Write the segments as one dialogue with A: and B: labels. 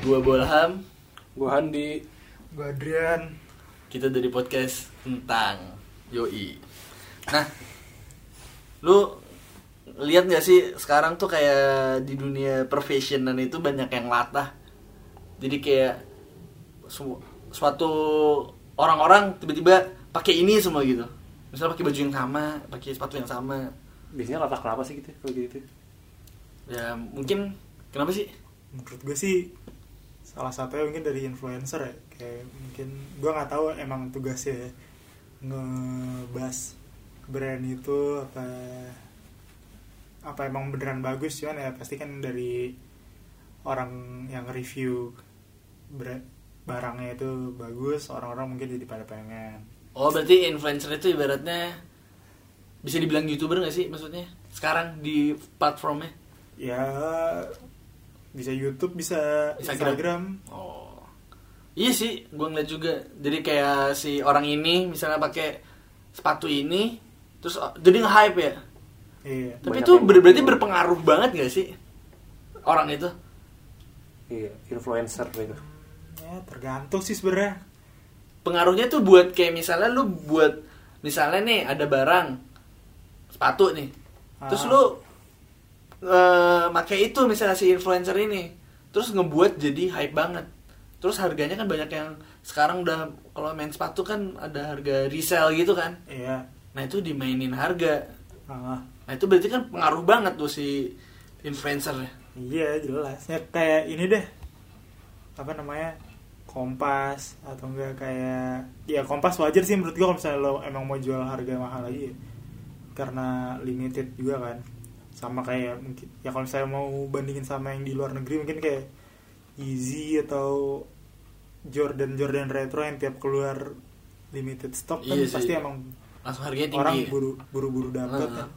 A: Gue Bolham
B: Gue Handi
C: Gue Adrian
A: Kita dari podcast tentang Yoi Nah Lu lihat gak sih sekarang tuh kayak di dunia perfessionan itu banyak yang latah Jadi kayak su- suatu orang-orang tiba-tiba pakai ini semua gitu Misalnya pakai baju yang sama, pakai sepatu yang sama
B: Biasanya latah kenapa sih gitu kalau gitu?
A: Ya mungkin kenapa sih?
C: menurut gue sih salah satunya mungkin dari influencer ya kayak mungkin gue nggak tahu emang tugasnya ya, ngebas brand itu apa apa emang beneran bagus cuman ya pasti kan dari orang yang review bre- barangnya itu bagus orang-orang mungkin jadi pada pengen
A: Oh berarti influencer itu ibaratnya bisa dibilang youtuber gak sih maksudnya sekarang di platformnya?
C: ya bisa YouTube bisa
A: Instagram.
C: Instagram,
A: Oh iya sih, gue ngeliat juga. Jadi kayak si orang ini misalnya pakai sepatu ini, terus oh, jadi nge-hype ya.
C: iya
A: Tapi
B: Banyak
A: itu
B: yang-
A: ber- berarti berpengaruh banget gak sih orang itu?
B: Iya, influencer gitu.
C: ya tergantung sih sebenarnya
A: Pengaruhnya tuh buat kayak misalnya lu buat misalnya nih ada barang sepatu nih, terus
C: Ah.
A: lu eh pakai itu misalnya si influencer ini, terus ngebuat jadi hype banget. Terus harganya kan banyak yang sekarang udah kalau main sepatu kan ada harga resell gitu kan.
C: iya
A: Nah itu dimainin harga.
C: ah
A: Nah itu berarti kan pengaruh banget tuh si influencer ya.
C: Iya jelas. Ya, kayak ini deh. Apa namanya? Kompas atau enggak kayak ya Kompas wajar sih menurut gua kalau misalnya lo emang mau jual harga mahal lagi ya. karena limited juga kan. Sama kayak mungkin ya kalau misalnya mau bandingin sama yang di luar negeri mungkin kayak Yeezy atau Jordan Jordan Retro yang tiap keluar limited stock kan
A: Iya sih.
C: pasti emang
A: Langsung harganya tinggi.
C: orang
A: ya.
C: buru buru-buru dapat
A: Heeh.
C: kan.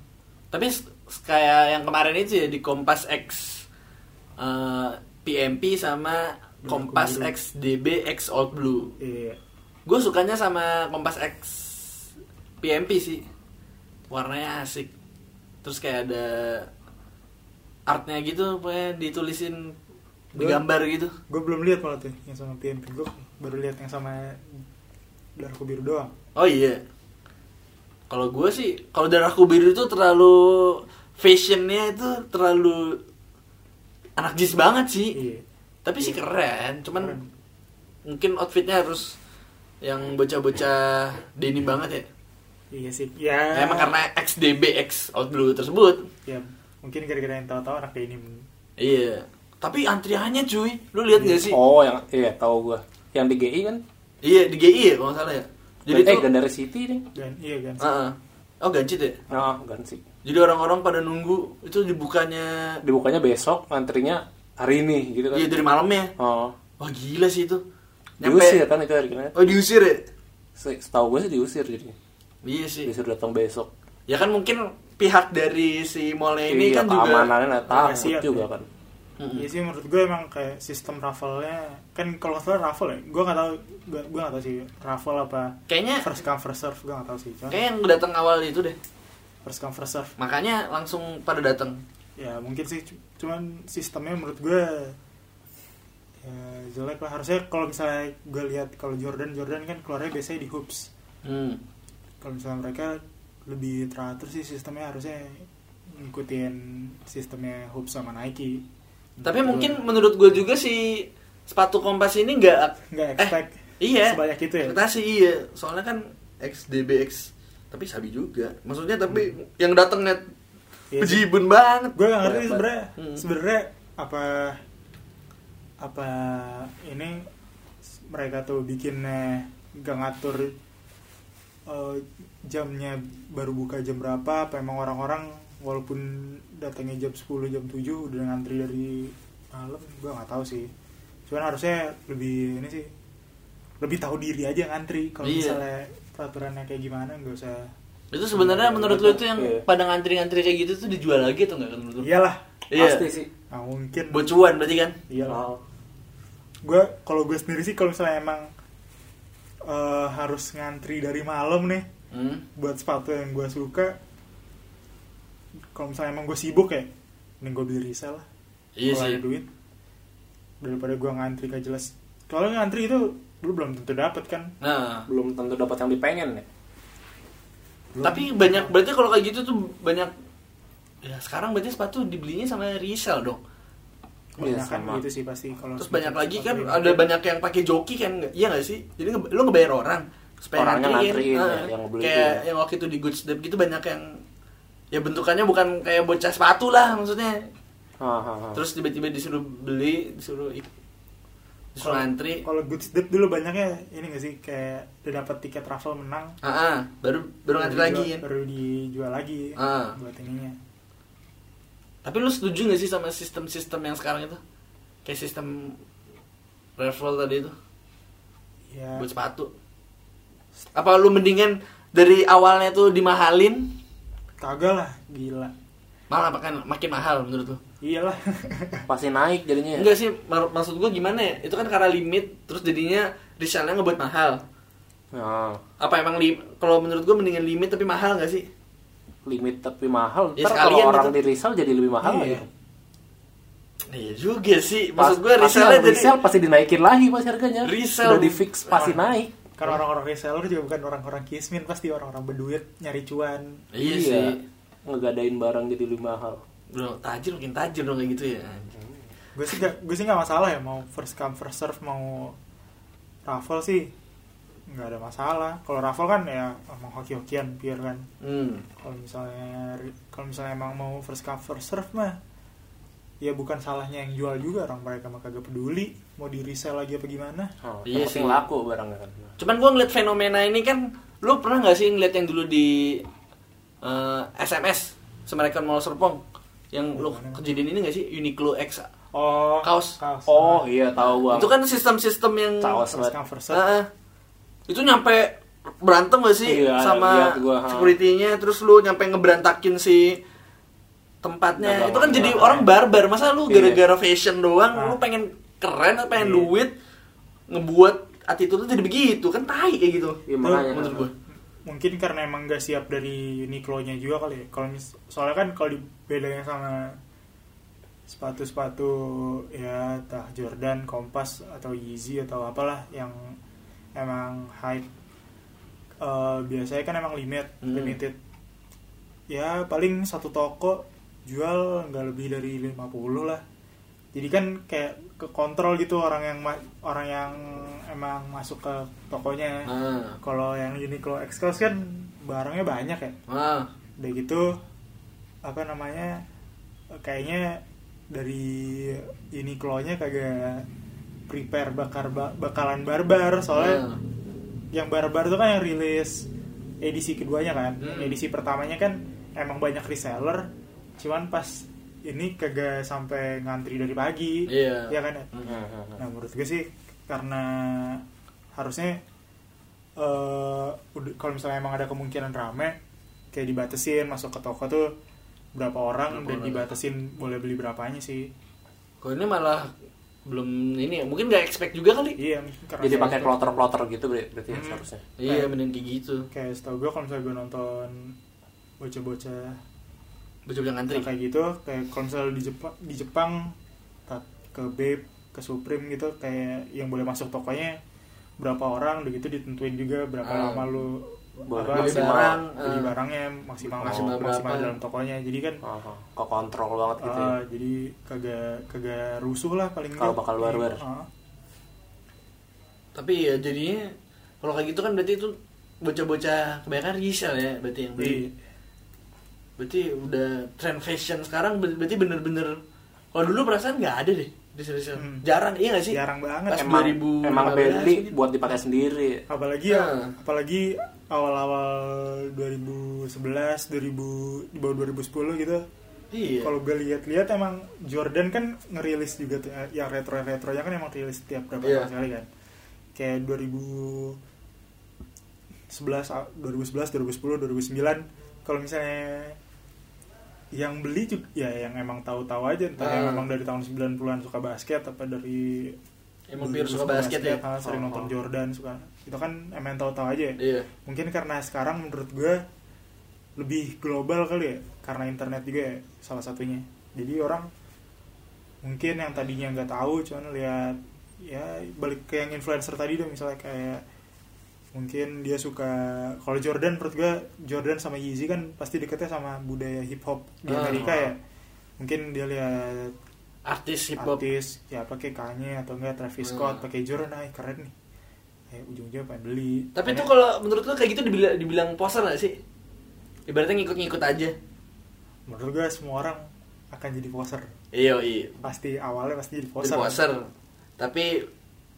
A: Tapi s- kayak yang kemarin itu ya di Kompas X eh, PMP sama Kompas
C: Blue.
A: X DB X Old Blue.
C: Iya.
A: Gue sukanya sama Kompas X PMP sih. Warnanya asik. Terus kayak ada artnya gitu, pokoknya ditulisin digambar gitu.
C: Gue belum lihat malah tuh yang sama PMP gue baru lihat yang sama Darko Biru doang.
A: Oh iya. Kalau gue sih, kalau darahku biru itu terlalu fashionnya itu terlalu anak jis banget sih.
C: Iya.
A: Tapi sih keren, cuman
C: Keren.
A: mungkin outfitnya harus yang bocah-bocah denim banget ya.
C: Iya sih. Ya.
A: Emang karena XDBX out blue tersebut.
C: Ya mungkin gara-gara yang tahu-tahu anak ini
A: Iya. Tapi antriannya cuy, lu lihat gak sih?
B: Oh, yang iya tahu gua. Yang di GI kan?
A: Iya di GI ya kalau nggak salah ya. Jadi
B: eh,
A: tuh,
B: Gandara City nih.
C: dan iya kan.
A: Heeh. oh gancit ya.
B: Nah, Gansi.
A: Jadi orang-orang pada nunggu itu dibukanya
B: Dibukanya besok, ngantrinya hari ini gitu kan.
A: Iya dari malamnya.
B: Oh.
A: Wah gila sih itu.
B: Diusir kan itu hari ini.
A: Oh diusir ya?
B: Se- Setahu gue sih diusir jadi.
A: Iya sih.
B: Disuruh datang besok.
A: Ya kan mungkin pihak dari si mallnya ini
B: Iya,
A: kan juga.
B: keamanannya nggak takut
C: Siap,
B: juga
C: ya.
B: kan.
A: Ah, Mm-mm.
C: Iya sih menurut gue emang kayak sistem raffle-nya kan kalau nggak salah raffle ya. Gue nggak tahu gue gue nggak tahu sih raffle apa
A: Kayaknya
C: first come first serve gue nggak tahu sih. Cuman
A: kayak yang datang awal itu deh.
C: first come first serve
A: Makanya langsung pada datang.
C: ya mungkin sih cu- cuman sistemnya menurut gue ya jelek lah harusnya kalau misalnya gue lihat kalau Jordan Jordan kan keluarnya biasanya di hoops
A: Hmm.
C: kalau misalnya mereka lebih teratur sih sistemnya harusnya ngikutin sistemnya Hoop sama Nike.
A: Tapi
B: Hmm.
A: mungkin menurut gue juga si sepatu kompas ini nggak
C: nggak
A: eh,
C: expect
A: iya.
C: sebanyak itu ya.
A: ekspektasi iya. Soalnya kan XDBX tapi sabi juga. Maksudnya tapi yang datang net
C: Iya sih.
A: bejibun banget.
C: Gue nggak ngerti sebenarnya
A: Hmm.
C: sebenarnya apa apa ini mereka tuh bikinnya gak ngatur eh, jamnya baru buka jam berapa apa emang orang-orang walaupun datangnya jam 10 jam 7 udah ngantri dari malam gue nggak tahu sih cuman harusnya lebih ini sih lebih tahu diri aja ngantri kalau
A: Iya.
C: misalnya peraturannya kayak gimana nggak usah
A: Itu sebenarnya
B: Iya,
A: menurut
B: betul.
A: lo itu yang
B: Iya.
A: pada ngantri-ngantri kayak gitu tuh dijual lagi atau enggak kan menurut lo?
C: iyalah
A: Iya.
B: Pasti sih.
C: nggak mungkin
A: Buat cuan berarti kan?
C: iyalah
B: Oh.
C: gue kalau gue sendiri sih kalau misalnya emang eh, harus ngantri dari malam nih
A: Hmm.
C: buat sepatu yang gue suka kalau misalnya emang gue sibuk ya mending gue beli resell lah
A: Iya
C: kalau
A: sih.
C: ada duit daripada gua ngantri gak jelas kalau ngantri itu lu belum tentu dapat kan
A: Nah,
B: belum tentu dapat yang dipengen ya
C: Belum.
A: tapi banyak berarti kalau kayak gitu tuh banyak ya sekarang berarti sepatu dibelinya sama resell dong.
B: Iya,
C: kebanyakan
B: sama.
C: gitu sih pasti kalau
A: Terus
C: semacam
A: banyak lagi kan
C: seperti
A: ada
C: ini.
A: banyak yang pakai joki kan, nggak- iya nggak sih? Jadi nge- lu ngebayar orang supaya
B: Orangnya
A: ngantriin.
B: ngantriin,
A: Ah,
B: ya, yang ngebeli
A: kayak
B: itu ya.
A: yang waktu itu di Good Step gitu banyak yang ya bentukannya bukan kayak bocah sepatu lah maksudnya.
B: Ha, ha, ha.
A: Terus tiba-tiba disuruh beli, disuruh ik- disuruh
C: Kalau-
A: antri.
C: kalau good step dulu banyaknya ini gak sih kayak udah dapat tiket raffle menang
A: Ah, ah, baru baru ngantri
C: dijual-
A: lagi. ya.
C: baru dijual lagi
A: Ah.
C: buat ininya
A: Tapi lu setuju gak sih sama sistem-sistem yang sekarang itu? Kayak sistem raffle tadi itu
C: ya
A: buat sepatu. Apa lu mendingan dari awalnya tuh dimahalin
C: kagak lah gila
A: malah makan makin mahal menurut lu?
C: iyalah
B: pasti naik jadinya ya
A: Enggak sih, mar- maksud gua gimana ya? Itu kan karena limit terus jadinya resellnya ngebuat mahal.
B: Nah,
A: Apa emang li- kalau menurut gua mendingan limit tapi mahal gak sih?
B: limit tapi mahal
A: Ya,
B: ntar
A: sekalian
B: kalau orang
A: gitu.
B: di resell jadi lebih mahal
C: Iya.
B: lagi
A: Iya juga sih.
B: Pas-
A: Maksud gua
B: pasti
A: resellnya
B: orang
A: jadi
B: resell pasti dinaikin lagi pasti harganya
A: Resell. Ah.
B: udah di fix pasti
C: Orang-
B: naik
C: karena orang-orang reseller juga bukan orang-orang kismin pasti orang-orang berduit nyari cuan
A: Iya, sih.
B: ngegadain barang jadi lebih mahal
A: Bro, tajir makin tajir dong kayak gitu ya.
C: gue sih gak gue sih gak masalah ya mau first come first serve mau raffle sih nggak ada masalah kalau raffle kan ya emang hoki hokian pure kan
A: Hmm.
C: kalau misalnya kalau misalnya emang mau first come first serve mah ya bukan salahnya yang jual juga orang mereka mah kagak peduli mau di resell lagi apa gimana
B: Oh,
A: Iya
B: yang penting
A: sih.
B: laku barangnya kan
A: Cuman gua ngeliat fenomena ini kan, lu pernah nggak sih ngeliat yang dulu di eh, SMS Semerikan Mall Serpong? Yang lu
C: Gimana?
A: kejadian ini nggak sih? Uniqlo X.
C: oh Nah,
A: Kaos.
B: oh iya tahu bang
A: Itu kan sistem-sistem yang
B: Tahu.
C: first come first serve
A: Ah, ah. itu nyampe berantem gak sih
B: Iya,
A: sama
B: lihat gua, ha.
A: security-nya terus lu nyampe ngeberantakin si tempatnya
B: Nggak
A: itu kan
B: bangun,
A: jadi
B: nggak
A: orang barbar masa lu
B: Iya.
A: gara-gara fashion doang
C: Nah.
A: lu pengen keren pengen
C: Iya.
A: duit ngebuat attitude lu jadi begitu kan tai kayak gitu
B: Iya, makanya.
A: menurut gua
C: mungkin karena emang gak siap dari Uniqlo-nya juga kali ya. Kalau mis- soalnya kan kalau dibedain sama sepatu-sepatu ya tah Jordan, Kompas atau Yeezy atau apalah yang emang hype eh, biasanya kan emang limit
A: Hmm.
C: limited ya paling satu toko jual nggak lebih dari 50 lah jadi kan kayak ke kontrol gitu orang yang ma- orang yang emang masuk ke tokonya
A: ah
C: kalau yang Uniqlo X Class kan barangnya banyak ya.
A: ah
C: Udah gitu apa namanya? Kayaknya dari Uniqlo-nya kagak prepare bakar ba- bakalan barbar soalnya
A: Ah.
C: yang barbar itu kan yang rilis edisi keduanya kan.
A: Hmm.
C: Edisi pertamanya kan emang banyak reseller, cuman pas ini kagak sampai ngantri dari pagi.
A: Iya.
C: Ya kan?
B: Hmm, hmm, hmm.
C: Nah menurut gue sih karena harusnya eh udah- kalau misalnya emang ada kemungkinan rame kayak dibatasin masuk ke toko tuh berapa orang
A: Berapa
C: dan
A: orang.
C: dibatasin boleh beli berapanya sih
A: kalau ini malah belum ini ya mungkin nggak expect juga kali
C: iya mungkin karena
B: jadi
C: saya-
B: pakai kloter kloter gitu ber- berarti ya
C: Hmm.
B: seharusnya
A: iya mending kayak gitu
C: kayak setahu gue kalau misalnya gue nonton bocah-bocah
A: bocah-bocah ngantri
C: kayak gitu kayak kalau misalnya di Jepang di Jepang ta- ke Babe ke Supreme gitu kayak yang boleh masuk tokonya berapa orang begitu ditentuin juga berapa
A: Ah.
C: lama lu
B: Boleh beli
C: apa, maksimal-
A: barang,
C: beli
A: eh.
C: barangnya maksimal
A: Maksimal
C: maksimal, maksimal
A: berapa.
C: dalam tokonya jadi kan
B: Ah, ah. kok kontrol banget gitu ya
C: ah, jadi kagak kagak rusuh lah paling
B: Kalau
C: enggak.
B: bakal barbar.
C: Ah.
A: Tapi ya jadinya kalau kayak gitu kan berarti itu bocah-bocah kebanyakan resell ya berarti yang beli.
C: Jadi,
A: Berarti udah trend fashion sekarang ber- berarti bener-bener kalau dulu perasaan nggak ada deh resell.
C: Hmm.
A: Jarang iya gak sih?
C: jarang banget
A: Pas
B: emang
A: 2015
B: emang beli
A: gitu.
B: buat dipakai sendiri
C: apalagi ya
A: Ah.
C: apalagi awal-awal 2011 2000 di bawah 2010 gitu
A: Iya.
C: Kalau gue lihat-lihat emang Jordan kan ngerilis juga tuh eh, yang retro-retronya kan emang rilis tiap berapa
A: Iya.
C: tahun sekali kan. Kayak 2011 ah, 2011 2010 2009 kalau misalnya yang beli juga ya yang emang tahu-tahu aja entah yang
A: Ah.
C: emang dari tahun 90-an suka basket apa dari
A: Emang
C: dulu
A: pure suka basket ya.
C: ah,
B: Oh,
C: sering nonton
B: oh.
C: Jordan suka itu kan emang tahu-tahu aja ya
A: Iya.
C: mungkin karena sekarang menurut gue lebih global kali ya karena internet juga ya salah satunya jadi orang mungkin yang tadinya nggak tahu cuman lihat ya balik ke yang influencer tadi deh misalnya kayak mungkin dia suka kalau Jordan menurut gue Jordan sama Yeezy kan pasti deketnya sama budaya hip hop di
A: Ah.
C: Amerika ya mungkin dia lihat
A: artis hip hop
C: artis ya pakai Kanye atau enggak Travis
A: Hmm.
C: Scott pakai Jordan ah keren nih eh, ujung-ujungnya pengen beli
A: tapi itu
C: Pengen-
A: kalau menurut lo kayak gitu dibilang dibilang poser gak sih ibaratnya ngikut-ngikut aja
C: menurut gue semua orang akan jadi poser
A: iya iya
C: pasti awalnya pasti jadi
A: poser,
C: poser
A: tapi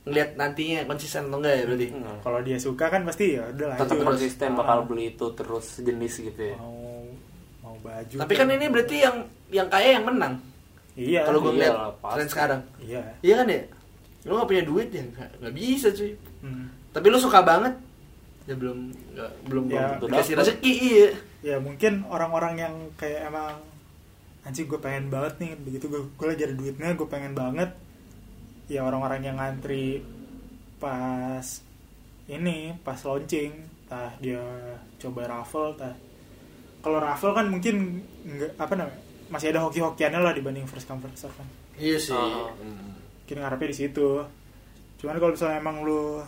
A: ngeliat nantinya konsisten atau enggak ya berarti
B: Hmm.
C: kalau dia suka kan pasti ya udah
B: Tetap
C: lanjut.
B: konsisten
C: Ah,
B: bakal beli itu terus jenis gitu ya.
C: mau mau baju
A: tapi kan ini berarti yang yang kaya yang menang
C: iya
A: kalau gue
B: iya,
A: ngeliat
B: pasti.
A: tren sekarang
C: iya
A: iya kan ya lo gak punya duit ya nggak nggak bisa cuy
C: Hmm.
A: tapi lo suka banget ya belum nggak belum
C: Ya,
A: belum dikasih
B: dapet.
A: rezeki iya
C: ya mungkin orang-orang yang kayak emang anjing gue pengen banget nih begitu gue gue lagi ada duitnya gue pengen banget ya orang-orang yang ngantri pas ini pas launching tah dia coba raffle tah kalau raffle kan mungkin nggak apa namanya masih ada hoki-hokiannya lah dibanding first come first serve kan
A: iya sih
B: Ah.
A: Hmm.
C: mungkin ngarepnya di situ cuman kalau misalnya emang lu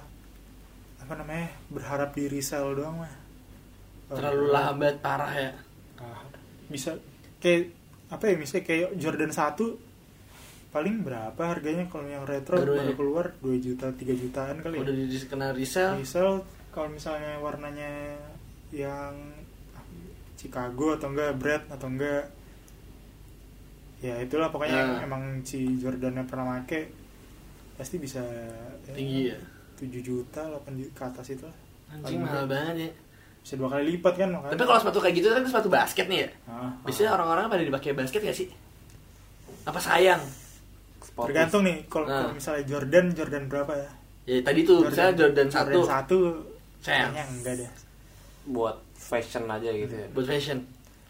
C: apa namanya berharap di resell doang mah eh,
A: terlalu lambat parah ya
C: Ah, bisa kayak apa ya misalnya kayak Jordan 1 paling berapa harganya kalau yang retro
A: Baru
C: baru,
A: ya?
C: keluar 2 juta 3 jutaan kali
A: udah
C: ya.
A: di kena resell
C: Misal kalau misalnya warnanya yang ah, Chicago atau enggak Brad atau enggak ya itulah pokoknya
A: Nah.
C: yang emang si Jordan yang pernah make pasti bisa
A: Tinggi ya?
C: 7 juta 8 juta ke atas itu lah.
A: anjing
C: Paling
A: mahal
C: murah.
A: banget ya
C: bisa dua kali lipat kan makanya.
A: tapi kalau sepatu kayak gitu kan sepatu basket nih ya
C: Ah.
A: biasanya orang-orang pada dipakai basket gak sih apa sayang
B: Sportif.
C: Tergantung nih kalau
A: Nah.
C: kalau misalnya Jordan Jordan berapa ya?
A: ya tadi tuh misalnya Jordan satu
C: Jordan satu
A: sayang
C: kayaknya enggak deh.
B: buat fashion aja gitu ya.
A: buat fashion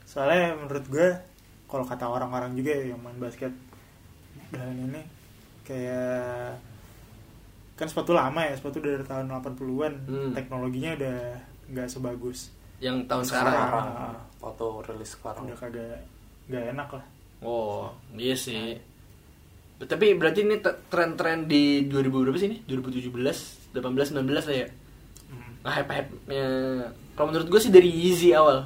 C: Soalnya menurut gue kalau kata orang-orang juga ya yang main basket dan ini kayak kan sepatu lama ya, sepatu dari tahun 80-an.
A: Hmm.
C: Teknologinya udah nggak sebagus.
A: yang tahun
C: Sekarang.
A: sekarang
B: Sekarang. Foto rilis sekarang.
C: Udah kagak nggak enak lah.
A: oh iya sih
C: Nah.
A: tapi berarti ini te- tren-tren di 2000 berapa sih ini 2017 18 19 lah ya
C: Hmm.
A: hype hype kalau menurut gue sih dari Yeezy awal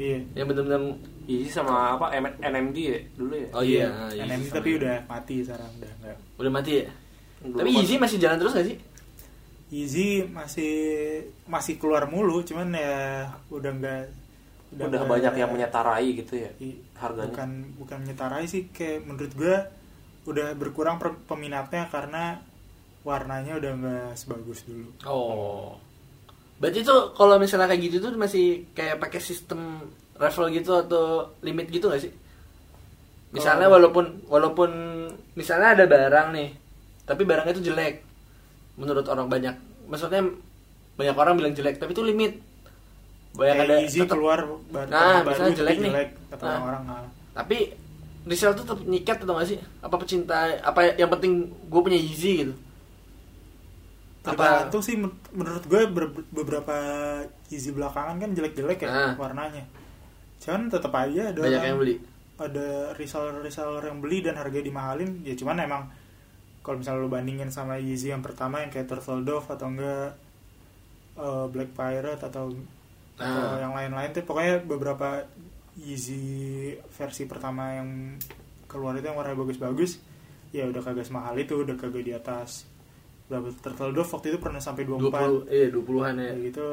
C: Iya.
A: yang bener-bener
B: Yeezy Iya sama apa M- NMD ya dulu ya.
A: oh iya nah, Yeezy
C: NMD
A: sama-
C: tapi udah mati sekarang udah nggak.
A: udah mati ya
B: Dulu
A: tapi
B: pas-
A: Yeezy masih jalan terus gak sih
C: Easy masih masih keluar mulu, cuman ya udah nggak
B: udah,
C: nggak-
B: banyak yang menyetarai gitu ya
C: i-
B: harganya.
C: Iya, Bukan bukan menyetarai sih, kayak menurut gue udah berkurang per- peminatnya karena warnanya udah nggak sebagus dulu.
A: Oh. Berarti tuh kalau misalnya kayak gitu tuh masih kayak pakai sistem raffle gitu atau limit gitu gak sih? Misalnya
C: Kalau-
A: walaupun walaupun misalnya ada barang nih, tapi barangnya itu jelek menurut orang banyak. Maksudnya banyak orang bilang jelek, tapi itu limit. Banyak
C: kayak
A: ada
C: Easy
A: tetep-
C: keluar baru
A: Nah,
C: baru
A: misalnya
C: tapi
A: jelek nih.
C: kata
A: Nah.
C: orang-orang ah.
A: Tapi resell tuh tetap nyikat atau gak sih? Apa pecinta apa yang penting gue punya Yeezy gitu.
C: Tergantung sih men- menurut gue ber- beberapa Easy belakangan kan jelek-jelek ya
A: Nah.
C: warnanya. Cuman tetap aja ada
A: banyak
C: orang-
A: yang beli?
C: ada reseller-reseller yang beli dan harganya dimahalin ya cuman emang kalau misalnya lu bandingin sama Yeezy yang pertama yang kayak Turtle Dove atau enggak eh, Black Pirate atau, atau
A: Ah.
C: yang lain-lain tuh pokoknya beberapa Yeezy versi pertama yang keluar itu yang warnanya bagus-bagus ya udah kagak semahal itu udah kagak di atas berapa Turtle Dove waktu itu pernah sampai 24
A: 20 iya 20-an ya.
C: ya gitu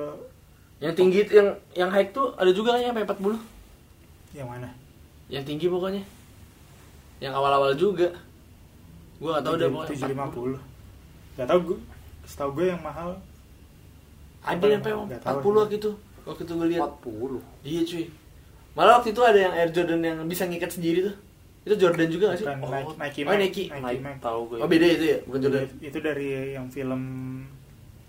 A: Yang tinggi itu- yang yang high tuh ada juga kan yang sampai 40.
C: yang mana
A: Yang tinggi pokoknya. Yang awal-awal juga. Gua enggak tahu udah pokoknya. 40.
C: 750 gak tau gue setahu gue yang mahal
A: Ada yang sampai
C: Nggak tahu
A: 40
C: sih.
A: gitu. Waktu itu gua lihat.
B: 40.
A: Iya cuy. Malah waktu itu ada yang Air Jordan yang bisa ngikat sendiri tuh. Itu Jordan juga gak sih?
C: Bukan,
A: oh,
C: Nike- Nike Max.
A: Nike.
C: Nike. Iya.
B: Naik
C: Max.
B: tahu gue.
A: Oh beda itu ya, bukan Jordan.
C: Itu dari yang film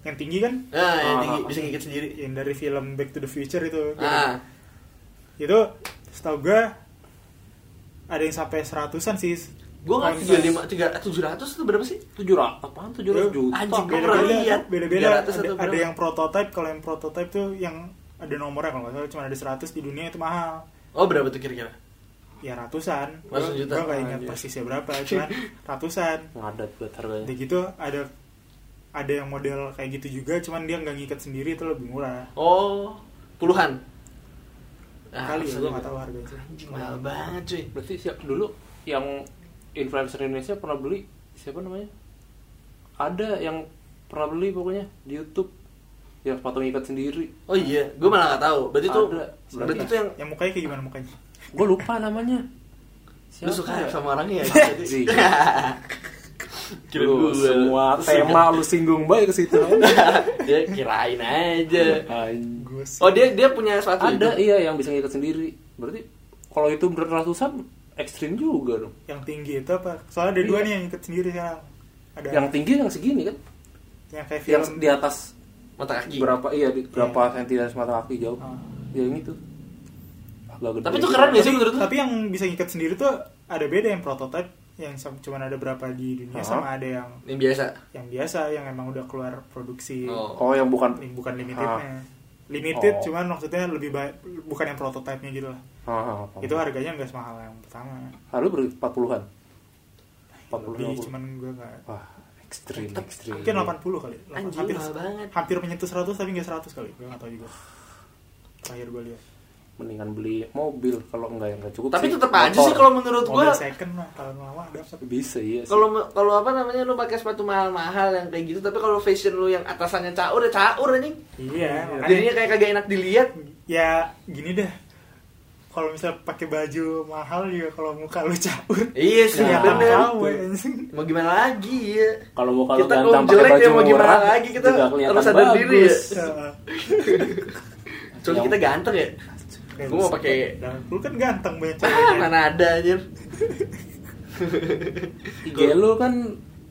C: yang tinggi kan?
A: Nah, yang
B: Ah.
A: tinggi bisa ngikat sendiri.
C: Yang dari film Back to the Future itu.
A: Ah,
C: Itu setahu gue ada yang sampai seratusan sih.
A: gua nggak
C: Kain
A: tiga
C: kain.
A: lima tiga tujuh ratus itu berapa sih?
B: 700 apaan
C: Iya.
B: 700 juta.
A: Anjing, gua pernah
C: Beda-beda,
A: lihat.
C: beda-beda.
A: 300 atau
C: Ada, ada
A: berapa?
C: yang prototype, kalau yang prototype tuh yang ada nomornya kalau nggak salah cuma ada 100 di dunia itu mahal.
A: Oh berapa tuh kira-kira?
C: ya ratusan
A: Ratusan
C: Gua-
A: juta.
C: gua nggak ingat
B: Anjir.
C: persisnya berapa cuman ratusan
B: ngadat buat harganya
C: udah gitu ada ada yang model kayak gitu juga cuman dia nggak ngikat sendiri itu lebih murah
A: Oh, puluhan. Ah,
C: kali ya
A: maksud
C: gue
A: gua-
C: nggak tahu harganya
A: Anjing, mahal banget cuy.
B: berarti siap dulu yang influencer Indonesia pernah beli siapa namanya ada yang pernah beli pokoknya di YouTube yang patung ikat sendiri
A: Oh iya, gue malah gak tahu. Berarti tuh
B: Ada.
A: berarti tuh yang
C: yang mukanya kayak gimana mukanya
B: gue lupa namanya
A: lu suka sama orangnya ya.
B: Anjing.
A: Kira
B: Lu
A: gua.
B: semua tema lu singgung baik ke situ
A: dia kirain aja.
B: Anjing.
C: gue
A: Oh, dia dia punya sepatu
B: ada
A: itu?
B: iya yang bisa ngikat sendiri berarti kalau itu bener ratusan ekstrim juga dong
C: yang tinggi itu apa soalnya ada
B: Iya.
C: dua nih yang ikat sendiri sekarang ada
B: yang tinggi yang segini kan
C: yang kayak film
B: yang di atas
A: mata kaki.
B: berapa iya di- berapa senti dari mata kaki jauh
C: Ah.
B: ya yang itu Agak gede.
A: Tapi itu keren gak sih menurut lu?
C: tapi yang bisa ngikat sendiri tuh ada beda yang prototype yang sam- cuman ada berapa di dunia
B: Hah?
C: sama ada yang
A: Yang biasa.
C: yang biasa yang emang udah keluar produksi
A: Oh.
B: oh yang bukan
C: Lim- bukan limitednya
B: Oh.
C: limited cuman maksudnya lebih baik bukan yang prototype-nya gitu lah
B: Ah, apa?
C: itu harganya nggak semahal yang pertama
B: lalu ber 40-an 40
C: lebih
B: 50.
C: cuman gue nggak
B: wah ekstrim ekstrim
C: mungkin 80 kali
A: Hmm. Anjing,
C: hampir
A: mahal banget.
C: hampir menyentuh 100 tapi nggak 100 kali gue nggak tahu juga terakhir gue lihat
B: mendingan beli mobil kalau enggak yang enggak cukup
A: Tapi
B: sih,
A: tetap aja
B: motor.
A: sih kalau menurut
C: mobil
A: gua
C: second lah kalau lama dapat
B: bisa iya sih.
A: kalau kalau apa namanya lu pakai sepatu mahal-mahal yang kayak gitu tapi kalau fashion lu yang atasannya caur ya caur anjing.
C: iya makanya
A: Jadinya kayak kagak enak dilihat.
C: ya gini deh kalau misalnya pakai baju mahal juga kalau muka lu caur
A: Iya sih,
B: Ya,
A: bener.
C: tahu anjing
A: Mau gimana lagi ya?
B: kalau mau kalau
A: Kita
B: ganteng
A: kalau
B: pakai
A: jelek
B: baju
A: ya mau gimana
B: murah,
A: lagi, kita
B: juga kelihatan
A: harus sadar diri ya.
B: bagus.
C: Ya,
A: Soalnya
B: Yang-
A: kita ganteng ya.
C: kayak
A: Gua mau
C: bisa.
A: pakai-
C: Dan lu kan ganteng banyak
A: Ah,
C: ceweknya
A: mana ada anjir.
B: IG lu kan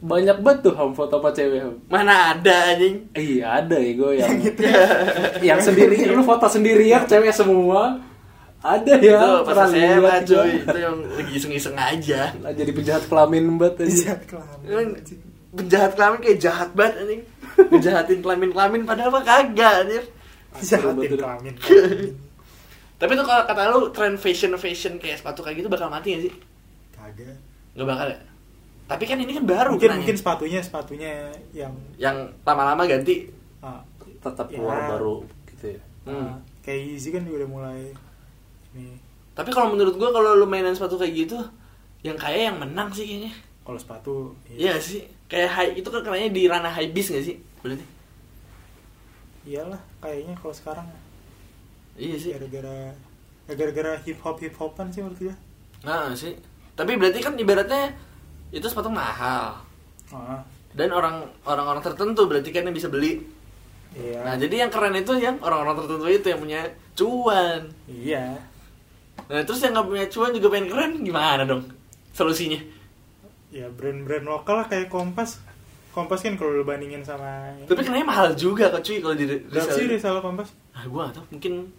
B: banyak banget tuh ham foto apa cewek ham
A: Mana ada anjing.
B: Iya ada ya gue yang
A: gitu
B: yang sendiri lu foto sendiri ya cewek semua ada ya
A: itu pas
B: pernah
A: SMA
B: lihat
A: cuy,
B: gua.
A: itu ya. yang lagi iseng-iseng aja.
B: Lah, jadi penjahat kelamin banget aja.
C: Bisa kelamin,
A: Kan
C: anjing.
A: penjahat kelamin kayak jahat banget anjing. Ngejahatin kelamin-kelamin padahal mah kagak anjir.
C: bisa
B: Betul,
C: hatin
B: betul.
C: kelamin
A: Tapi tuh kalau kata lu tren fashion fashion kayak sepatu kayak gitu bakal mati gak sih?
C: kagak
A: Gak bakal ya. Tapi kan ini kan baru
C: mungkin
A: kenanya.
C: mungkin sepatunya sepatunya yang
A: yang lama-lama ganti.
C: ah,
B: tetap
C: Ya.
B: keluar baru gitu ya
A: Iya. Hmm.
C: ah, kayak Yeezy kan juga udah mulai ini
A: Tapi kalau menurut gua kalau lu mainan sepatu kayak gitu yang kaya yang menang sih kayaknya.
C: kalau sepatu
A: Iya gak sih. Kayak high itu kan kenanya di ranah high bis gak sih? Berarti.
C: iyalah kayaknya kalau sekarang
A: Iya sih.
C: gara-gara ya gara-gara hip hop hip hopan sih menurut gue
A: Nah sih. Tapi berarti kan ibaratnya itu sepatu mahal
C: ah,
A: dan orang orang orang tertentu berarti kan yang bisa beli.
C: iya
A: Nah jadi yang keren itu yang orang-orang tertentu itu yang punya cuan.
C: iya
A: Nah terus yang nggak punya cuan juga pengen keren gimana dong solusinya?
C: ya brand-brand lokal lah kayak Kompas Kompas kan kalau lu bandingin sama
A: Tapi kenanya mahal juga kok cuy kalau di
C: Berapa sih
A: resell.
C: resell Kompas?
A: Nah, gua gak tau mungkin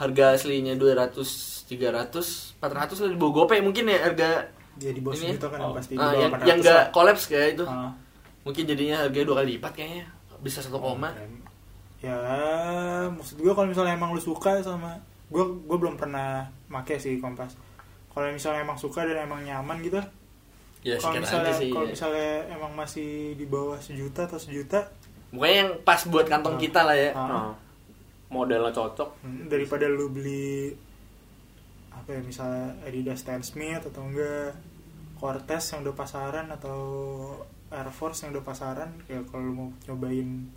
A: harga aslinya 200, 300, 400 lah di bawah gopay mungkin ya harga
C: Dia di bawah
A: ini.
C: segitu kan yang pasti di
A: Ah,
C: bawah
A: yang,
C: 800
A: yang
C: lah.
A: gak kolaps kayak itu.
C: Ah.
A: Mungkin jadinya harganya dua kali lipat kayaknya. Bisa satu koma.
C: Ya, maksud gue kalau misalnya emang lu suka sama gue gue belum pernah make sih kompas. Kalau misalnya emang suka dan emang nyaman gitu.
A: Ya,
C: kalau
A: sekian
C: misalnya
A: aja sih.
C: kalau misalnya emang masih di bawah sejuta atau sejuta
A: Mukanya yang pas buat kantong
C: Ah.
A: kita lah ya.
C: ah,
B: Nah, modelnya cocok
C: hmm, daripada lu beli apa ya misalnya Adidas Stan Smith atau enggak Cortez yang udah pasaran atau Air Force yang udah pasaran ya kalau lu mau nyobain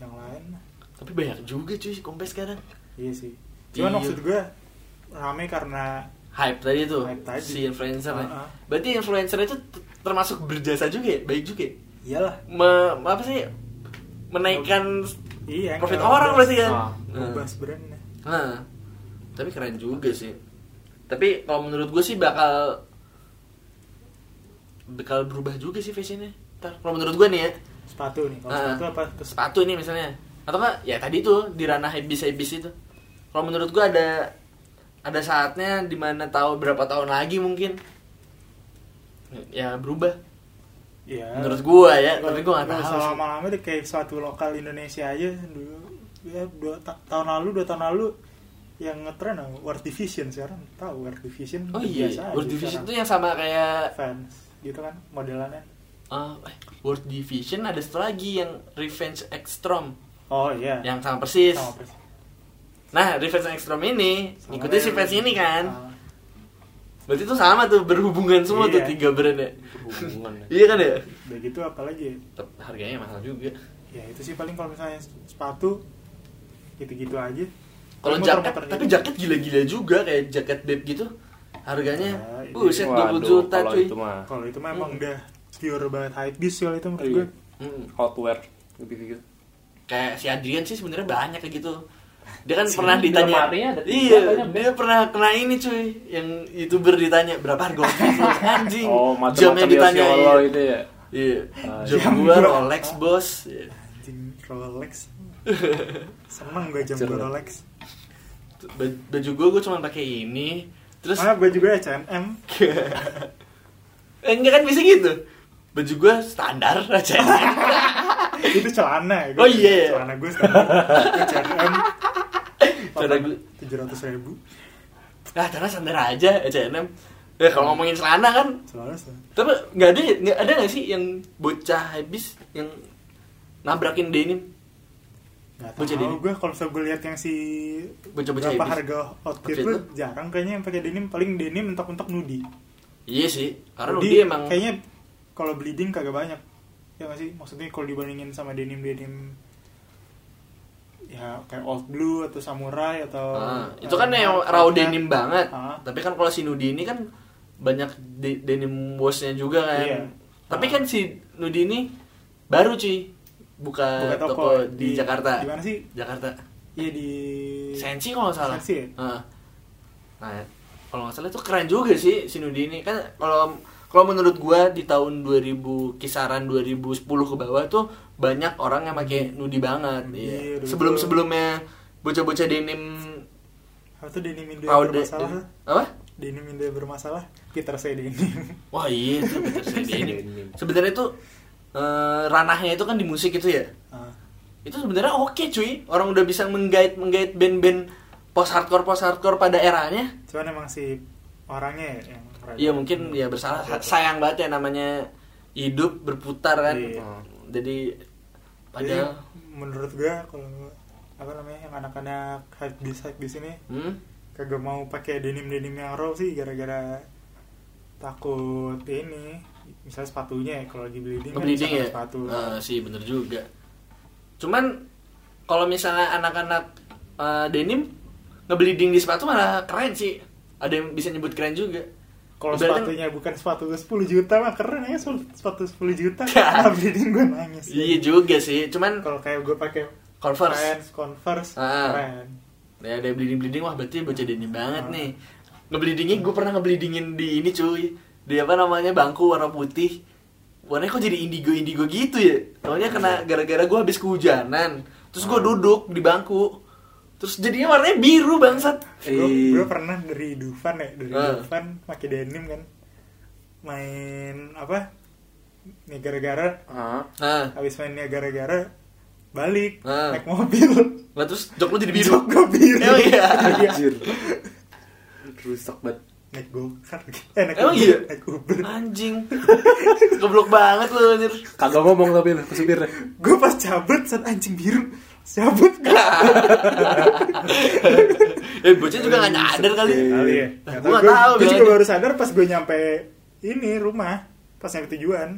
C: yang lain
A: Tapi banyak juga cuy kompes sekarang.
C: Iya sih. Cuman
A: Iya.
C: maksud gue rame karena
A: Hype tadi tuh
C: Hype tadi.
A: si influencer. ya.
C: Ah, ah.
A: Berarti influencer itu t- termasuk berjasa juga ya, baik juga. ya?
C: iyalah.
A: Me, apa sih menaikkan
C: Iya.
A: profit
C: nggak
A: orang
C: ngebahas-
A: berarti kan.
B: Ah,
A: Nah.
C: nggak ngebahas brandnya.
A: Nah, tapi keren juga sih. Tapi kalau menurut gue sih bakal bakal berubah juga sih fashionnya. Ntar kalau menurut gue nih ya,
C: Sepatu nih. Kalau
A: Ah.
C: sepatu apa? Ke
A: sepatu ini misalnya, atau enggak ya tadi tuh di ranah habis habis itu. Kalau menurut gue ada ada saatnya dimana tahu berapa tahun lagi mungkin ya berubah.
C: Iya.
A: Menurut gue ya, tapi gue nggak
C: Nggak
A: tahu.
C: usah
A: sih.
C: lama-lama deh kayak sepatu lokal Indonesia aja dulu. Ya, dua ta- tahun lalu, dua tahun lalu yang ngetren apa? World Division sekarang tahu World Division
A: Oh iya,
C: biasa aja
A: World Division
C: sekarang.
A: tuh ya. yang sama kayak
C: fans gitu kan modelannya
A: eh, eh, World Division ada satu lagi yang Revenge Extreme
C: oh iya
A: yang sama persis.
C: Sama persis.
A: Nah, Revenge Extreme ini
C: Sama Ah.
A: ngikutin si
C: yang-
A: fans ini kan.
C: Sama.
A: Berarti tuh sama tuh berhubungan semua tuh
C: Iya.
A: tiga brand ya.
B: Berhubungan ya.
A: Iya kan ya?
C: udah gitu apalagi ya?
A: Tapi harganya mahal juga.
C: ya itu sih paling kalau misalnya sepatu gitu-gitu aja
A: Kalau jaket,
C: Muter-muter gitu.
A: tapi jaket gila-gila juga kayak jaket Babe gitu. Harganya
C: Nah, ini-
A: buset 20
B: Waduh,
A: juta
B: kalau
A: cuy.
B: itu mah
C: kalau itu mah emang
A: Hmm.
C: udah pure banget hype beast kalau itu menurut
B: Iya.
C: gue
A: Hmm.
B: outwear gitu-gitu.
A: Kayak si Adrian sih sebenarnya banyak kayak gitu. Dia kan
B: Si
A: pernah
B: di
A: ditanya.
B: lemarinya ada tiga
A: Iya,
B: banyak.
A: dia pernah kena ini cuy. Yang YouTuber ditanya berapa harga Oculus?" anjing.
B: Oh,
A: Jamnya
B: macam-macam
A: ditanya.
B: Yoshiolo itu ya.
A: Iya.
B: Ah,
A: Jam
C: jam
A: gua
C: gua.
A: Rolex, Bos. Iya.
C: anjing Rolex seneng gue jam
B: Anjir.
C: gue Rolex
A: Ba- Baju gua gua cuma pakai ini. Terus
C: ah baju gue H&M
A: eh, enggak kan bisa gitu. Baju gua standar aja.
C: itu celana ya
A: Oh, iya, iya.
C: celana gue standar gue H&M
A: Celana gue-
C: tujuh ratus ribu
A: Nah, celana standar aja, H&M. Ya kalau ngomongin celana kan,
C: celana standar.
A: tapi nggak ada, ya? nggak ada nggak sih yang bocah habis yang nabrakin denim?
C: Gak
A: Bocah
C: tau
A: denim.
C: gue kalau misalnya gue lihat yang si
A: Bocah-bocah
C: berapa
A: habis.
C: harga outfit
A: Outfit
C: lu
A: lu?
C: jarang kayaknya yang pakai denim paling denim mentok-mentok nudi
A: Iya sih, karena
C: Nudi
A: dia emang
C: kayaknya kalau bleeding kagak banyak ya gak sih maksudnya kalau dibandingin sama denim denim ya kayak old blue atau samurai atau
A: Ah, itu
C: eh,
A: kan yang
C: Hard
A: raw
C: Outfit.
A: denim banget.
C: Ah.
A: Tapi kan kalau si Nudi ini kan banyak de- denim washnya juga kan.
C: Iya.
A: Tapi
C: Ah.
A: kan si Nudi ini baru cuy buka,
C: Buka
A: toko,
C: toko
A: di,
C: di-
A: Jakarta.
C: di mana sih?
A: Jakarta.
C: iya di
A: Sensi kalau nggak salah.
C: Sensi ya?
A: Ah. Nah, kalau nggak salah itu keren juga sih si Nudi ini kan kalau kalau menurut gua di tahun 2000 kisaran 2010 ke bawah tuh banyak orang yang pakai
C: Hmm.
A: Nudi banget.
C: Nudi,
A: Iya.
C: dulu.
A: Sebelum-sebelumnya bocah-bocah denim
C: apa tuh denim Indo
A: Raw
C: yang
A: de-
C: bermasalah
A: de- apa?
C: denim Indo yang bermasalah Peter saya denim
A: Wah iya itu Peter
B: Denim.
A: Sedin. Sebenarnya itu eh, ranahnya itu kan di musik itu ya.
C: Ah,
A: Itu sebenarnya oke cuy. Orang udah bisa menggait menggait band-band post hardcore post hardcore pada eranya.
C: cuman emang si orangnya ya yang keren.
A: Iya mungkin ya bersalah. Sa- Sayang banget ya namanya hidup berputar kan.
C: Iya.
A: Jadi
C: Jadi,
A: padahal
C: menurut gue kalau apa namanya yang anak-anak hype di di sini
A: hmm?
C: kagak mau pakai denim denim yang raw sih gara-gara takut ini misalnya sepatunya ya kalau lagi bleeding kan bisa
A: Ngebleeding
C: pakai
A: ya?
C: sepatu
A: Eh, sih bener juga. Cuman kalau misalnya anak-anak eh, denim ngebleeding di sepatu malah keren sih. Ada yang bisa nyebut keren juga.
C: kalau
A: Ibaratnya-
C: sepatunya bukan sepatu 10 juta mah keren ya sepatu sepatu 10 juta kalau bleeding gue nangis
A: Iya juga sih, cuman
C: kalau kayak gue pakai
A: Converse.
C: Vans, converse
A: Ah.
C: keren
A: Ya ada bleeding bleeding wah berarti bocah denim banget
C: Ah.
A: nih. Ngebleedingin gue pernah ngebleedingin di ini cuy. Di apa namanya bangku warna putih. Warnanya kok jadi indigo indigo gitu ya? Soalnya kena
C: Iya.
A: gara-gara gue habis kehujanan. Terus gue
C: Hmm.
A: duduk di bangku. Terus jadinya warnanya biru bangsat.
C: gue
B: Ih.
C: gue pernah dari Dufan ya dari
A: Iya. Ah.
C: Dufan pakai denim kan main apa nih gara-gara
B: Ah.
A: Nah,
C: habis mainnya gara-gara balik
A: Ah.
C: naik mobil
A: nah terus jok lu jadi
C: Jok
A: biru.
C: gua biru.
A: Emang iya?
B: Anjir. Rusak banget.
C: Naik gokar. Eh naik
A: Emang
C: Uber.
A: iya?
C: Naik Uber.
A: Anjing. Goblok banget lu anjir.
B: Kagak ngomong tapi lu ke supirnya.
C: Gue pas cabut saat anjing biru. Cabut gak?
A: Eh bocah juga gak nyadar kali.
C: Kali ya.
A: Nah,
C: Gua
A: gua nggak tahu,
C: Gue juga
A: bilangnya.
C: baru sadar pas gue nyampe ini rumah. Pas nyampe tujuan.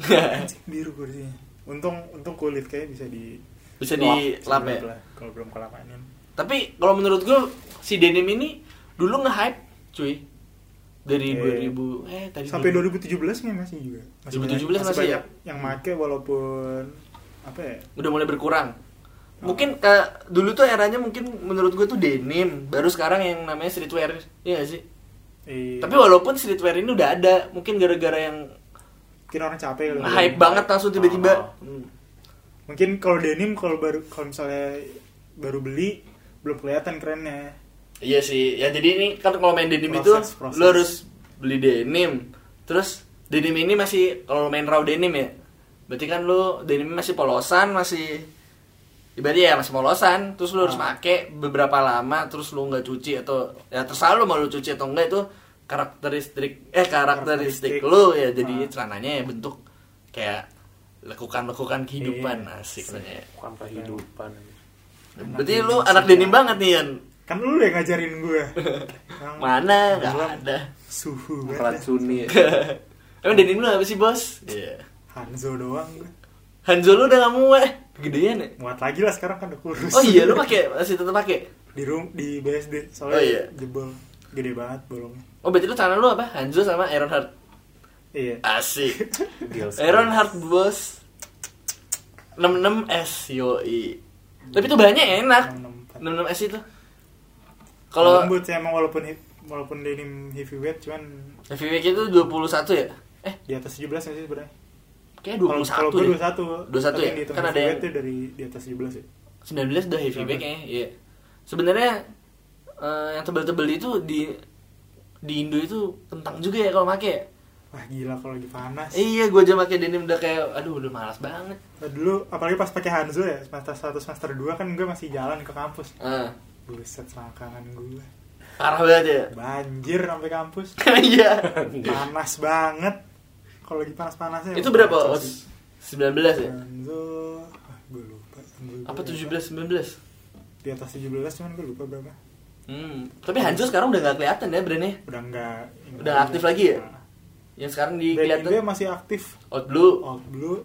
C: Anjing biru kursinya. Untung untung kulit kayak bisa di
A: Bisa
C: di
A: dilap ya.
C: Kalau belum kelapaanin.
A: Tapi kalau menurut gue si Denim ini dulu nge-hype, cuy. Dari
C: Eh,
A: 2000 eh tadi
C: Sampai
A: 2000.
C: 2017 nih masih juga.
A: 2017 masih ya?
C: banyak yang make walaupun apa ya?
A: udah mulai berkurang. Mungkin ke- dulu tuh eranya mungkin menurut gue tuh denim, baru sekarang yang namanya streetwear. Iya gak sih?
C: Eh,
A: Tapi walaupun streetwear ini udah ada, mungkin gara-gara yang
C: mungkin orang capek kali. ya.
A: hype banget langsung tiba-tiba.
C: mungkin kalau denim kalau baru kalau misalnya baru beli belum kelihatan kerennya
A: Iya sih. Ya jadi ini kan kalau main denim
C: Proses,
A: itu
C: proses.
A: lo harus beli denim. Terus denim ini masih kalau lo main raw denim ya. Berarti kan lo denim masih polosan, masih ibaratnya ya masih molosan terus lu harus
C: Ah.
A: make beberapa lama terus lu nggak cuci atau ya terserah lu mau lu cuci atau enggak itu karakteristik eh karakteristik
C: Karakteristik.
A: lu ya jadi
C: Ah.
A: celananya ya bentuk kayak lekukan-lekukan kehidupan
C: Iya.
A: asik namanya.
B: bukan kehidupan
A: Berarti lu anak denim banget nih Yan.
C: kan lu yang ngajarin gue Yang
A: Mana nggak
C: dalam
A: ada.
C: suhu banget
B: racuni ya
A: Emang denim lu apa sih bos? Iya.
C: Hanzo doang gue
A: Hanzo lu udah nggak muat, gedean ya.
C: muat lagi lah sekarang kan udah kurus
A: Oh iya lu pakai masih tetap pakai.
C: di room di BSD soalnya
A: Oh, iya.
C: jebol gede banget bolongnya
A: Oh berarti lu tangan lu apa? Hanzo sama Iron Heart.
C: iya
A: Asik.
B: Gils.
A: Iron Heart bos. 66S yoi. Tapi itu bahannya enak.
C: 664.
A: 66S itu. Kalau
C: lembut sih emang walaupun hip- walaupun denim heavyweight cuman
A: heavyweight itu 21 ya? Eh,
C: di atas 17 nggak sih sebenarnya
A: kayak
C: kalau kalau
A: 21
C: gue
A: deh. 21
C: 21 tapi
A: ya?
C: yang dihitung
A: Kan ada
C: heavyweight
A: yang-
C: tuh dari di atas 17 ya
A: 19 udah heavy bag ya. Iya. Sebenarnya eh, yang tebel-tebel itu di di Indo itu kentang juga ya kalau make. ya?
C: wah gila kalau lagi panas
A: Iya, gua aja make denim udah kayak aduh udah malas banget.
C: Eh, dulu apalagi pas pakai Hanzo ya semester 1 semester 2 kan gue masih jalan ke kampus
A: Ah,
C: buset selangkangan gue
A: parah banget ya.
C: banjir sampai kampus
A: Iya.
C: panas banget kalau lagi panas-panasnya
A: itu berapa? Oh, 19 ya?
C: Hanzo ah, gue lupa Hanzo gue
A: Apa
C: berapa.
A: 17 19?
C: di atas 17 cuman gue lupa berapa
A: Hmm, tapi Hanzo sekarang udah nggak kelihatan ya brandnya.
C: udah enggak
A: Udah aktif lagi ya? Yang sekarang di
C: Back in
A: kelihatan
C: Day Nah, masih aktif
A: Out Blue,
C: Out Blue
A: Oh,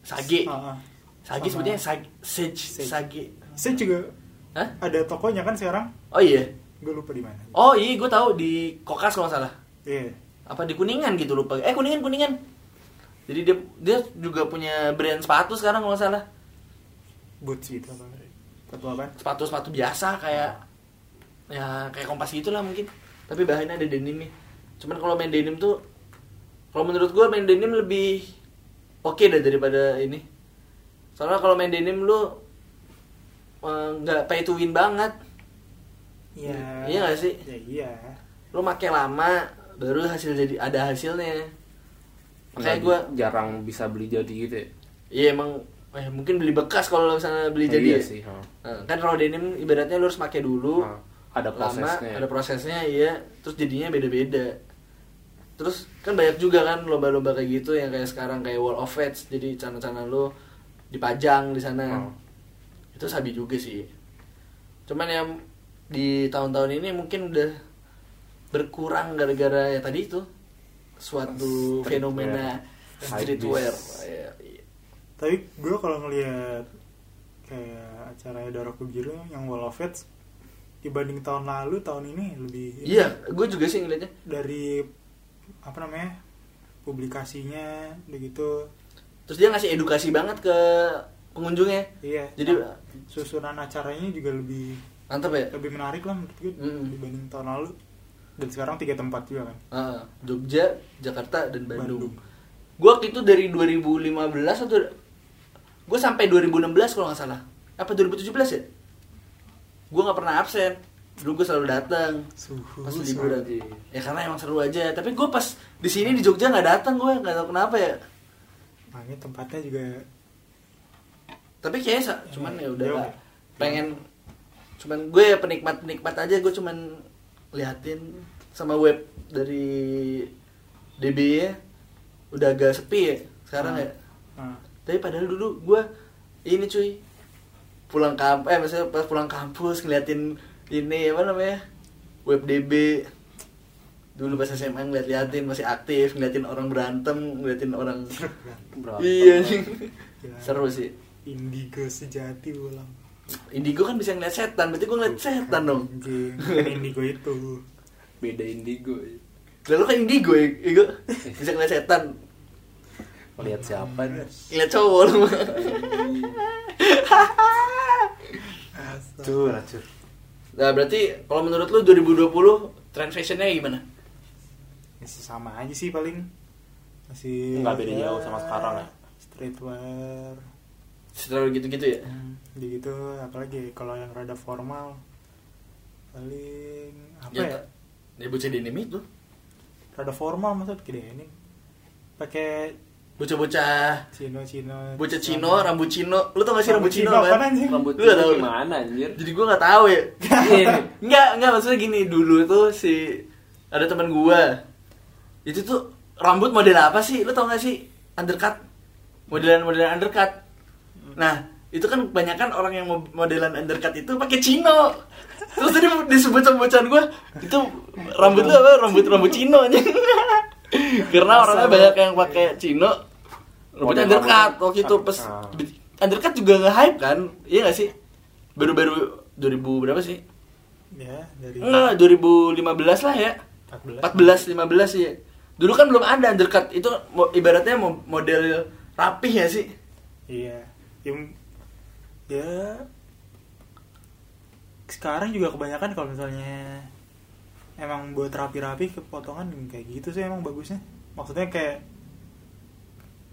A: Sage.
C: Ah, ah.
A: Sage
C: sama-
A: sebutnya Sage, ah. Sage,
C: Sage.
A: Sage.
C: Saya juga
A: Hah?
C: ada tokonya kan sekarang
A: Oh iya.
C: gue lupa di mana
A: Oh iya, gue tahu di Kokas kalau nggak salah.
C: iya
A: apa di kuningan gitu lupa eh kuningan kuningan jadi dia dia juga punya brand sepatu sekarang kalau nggak salah
C: boots gitu apa satu apa
A: sepatu sepatu biasa kayak ya kayak kompas gitulah mungkin tapi bahannya ada denimnya cuman kalau main denim tuh kalau menurut gua main denim lebih oke dah daripada ini soalnya kalau main denim lu eh, nggak pay to win banget
C: iya
A: Iya nggak sih?
C: ya iya
A: lu make lama baru hasil jadi ada hasilnya makanya
B: Nggak-
A: gua
B: jarang bisa beli jadi gitu ya
A: Iya emang eh, mungkin beli bekas kalau misalnya beli
B: Nah,
A: jadi
B: iya
A: ya.
B: sih ha.
A: Nah, kan kalau denim ibaratnya lu harus pakai dulu
B: Ha, ada
A: lama,
B: prosesnya ya.
A: ada prosesnya iya terus jadinya beda-beda terus kan banyak juga kan lomba-lomba kayak gitu yang kayak sekarang kayak wall of fates jadi cana-cana lu dipajang di sana
B: Hmm.
A: itu sabi juga sih cuman yang di tahun-tahun ini mungkin udah berkurang gara-gara ya tadi itu suatu
B: Streetwear.
A: fenomena streetwear
B: Hypebeast.
A: Ya, iya.
C: tapi gue kalau ngelihat kayak acara Daraku Biru yang Wall of Fates dibanding tahun lalu tahun ini lebih
A: Iya, gue juga sih ngeliatnya.
C: dari apa namanya publikasinya gitu. begitu
A: Terus dia ngasih edukasi banget ke pengunjungnya.
C: iya
A: Jadi
C: susunan acaranya juga lebih
A: mantep ya.
C: lebih menarik lah menurut gue
A: Mm.
C: dibanding tahun lalu dan sekarang tiga tempat juga kan
A: Ah, Jogja, Jakarta, dan Bandung.
C: Bandung.
A: Gue waktu itu dari 2015 atau gue sampai 2016 kalau nggak salah. Apa 2017 ya? Gue nggak pernah absen. Dulu gue selalu datang.
C: suhu
A: Pas
C: suhu.
A: liburan. Ya karena emang seru aja. Tapi gue pas di sini di Jogja nggak datang gue nggak tahu kenapa ya.
C: makanya tempatnya juga
A: tapi kayaknya sa- cuman ya udah
C: Jauh
A: lah.
C: ya?
A: pengen cuman gue ya penikmat penikmat aja gue cuman liatin sama web dari DB ya udah agak sepi ya sekarang
C: Hmm.
A: ya
C: nah,
A: tapi padahal dulu gue ini cuy pulang kampus eh maksudnya pas pulang kampus ngeliatin ini apa namanya web DB dulu pas SMA ngeliat-liatin masih aktif ngeliatin orang berantem ngeliatin orang
B: Berapa?
A: iya sih
C: Gila.
A: seru sih
C: indigo sejati ulang
A: Indigo kan bisa ngeliat setan, berarti gue ngeliat setan dong.
C: Anjing, bukan indigo itu
B: beda indigo ya.
A: Lalu kan indigo ya, Igo bisa ngeliat setan,
B: lihat siapa nih
A: ngeliat cowok lu.
C: Asal.
B: Cur, cur.
A: Nah berarti kalau menurut lu 2020 trend fashionnya gimana?
C: masih sama Ya, aja sih paling masih
B: Nggak beda jauh sama sekarang ya?
C: streetwear
A: Selalu gitu-gitu ya.
C: hmm, gitu apalagi kalau yang rada formal paling apa
A: Ya,
C: ya,
A: Kak. Dia bocah denim itu.
C: rada formal maksud gede ini pakai
A: bocah-bocah
C: Cino Cino
A: bocah Cino, rambut Cino. Lu tau gak sih rambut
C: Rambut
A: Cino
C: Cino apaan
A: kan?
C: anjing?
B: Rambut
A: Lu gak tahu.
B: gimana anjir?
A: Jadi gua nggak tahu ya.
B: Iya.
A: Enggak, enggak maksudnya gini dulu tuh si ada teman gua. Itu tuh rambut model apa sih? Lu tau gak sih? Undercut. Modelan-modelan undercut. Nah, itu kan kebanyakan orang yang mo- modelan undercut itu pakai Cino. Terus tadi disebut sama bocan gua, itu rambut lu apa? Rambut rambut Cino anjing. Karena orangnya banyak yang pakai Cino. Rambutnya
B: Model
A: undercut
B: rambut.
A: waktu itu pas
B: Ah.
A: undercut juga nge-hype kan? Iya gak sih? Baru-baru 2000 berapa sih?
C: ya dari
A: Enggak, 2015 lah ya. 14 15 sih. Dulu kan belum ada undercut. Itu mo- ibaratnya mo- model rapih ya sih.
C: iya yang ya sekarang juga kebanyakan kalau misalnya emang buat rapi-rapi ke potongan kayak gitu sih emang bagusnya maksudnya kayak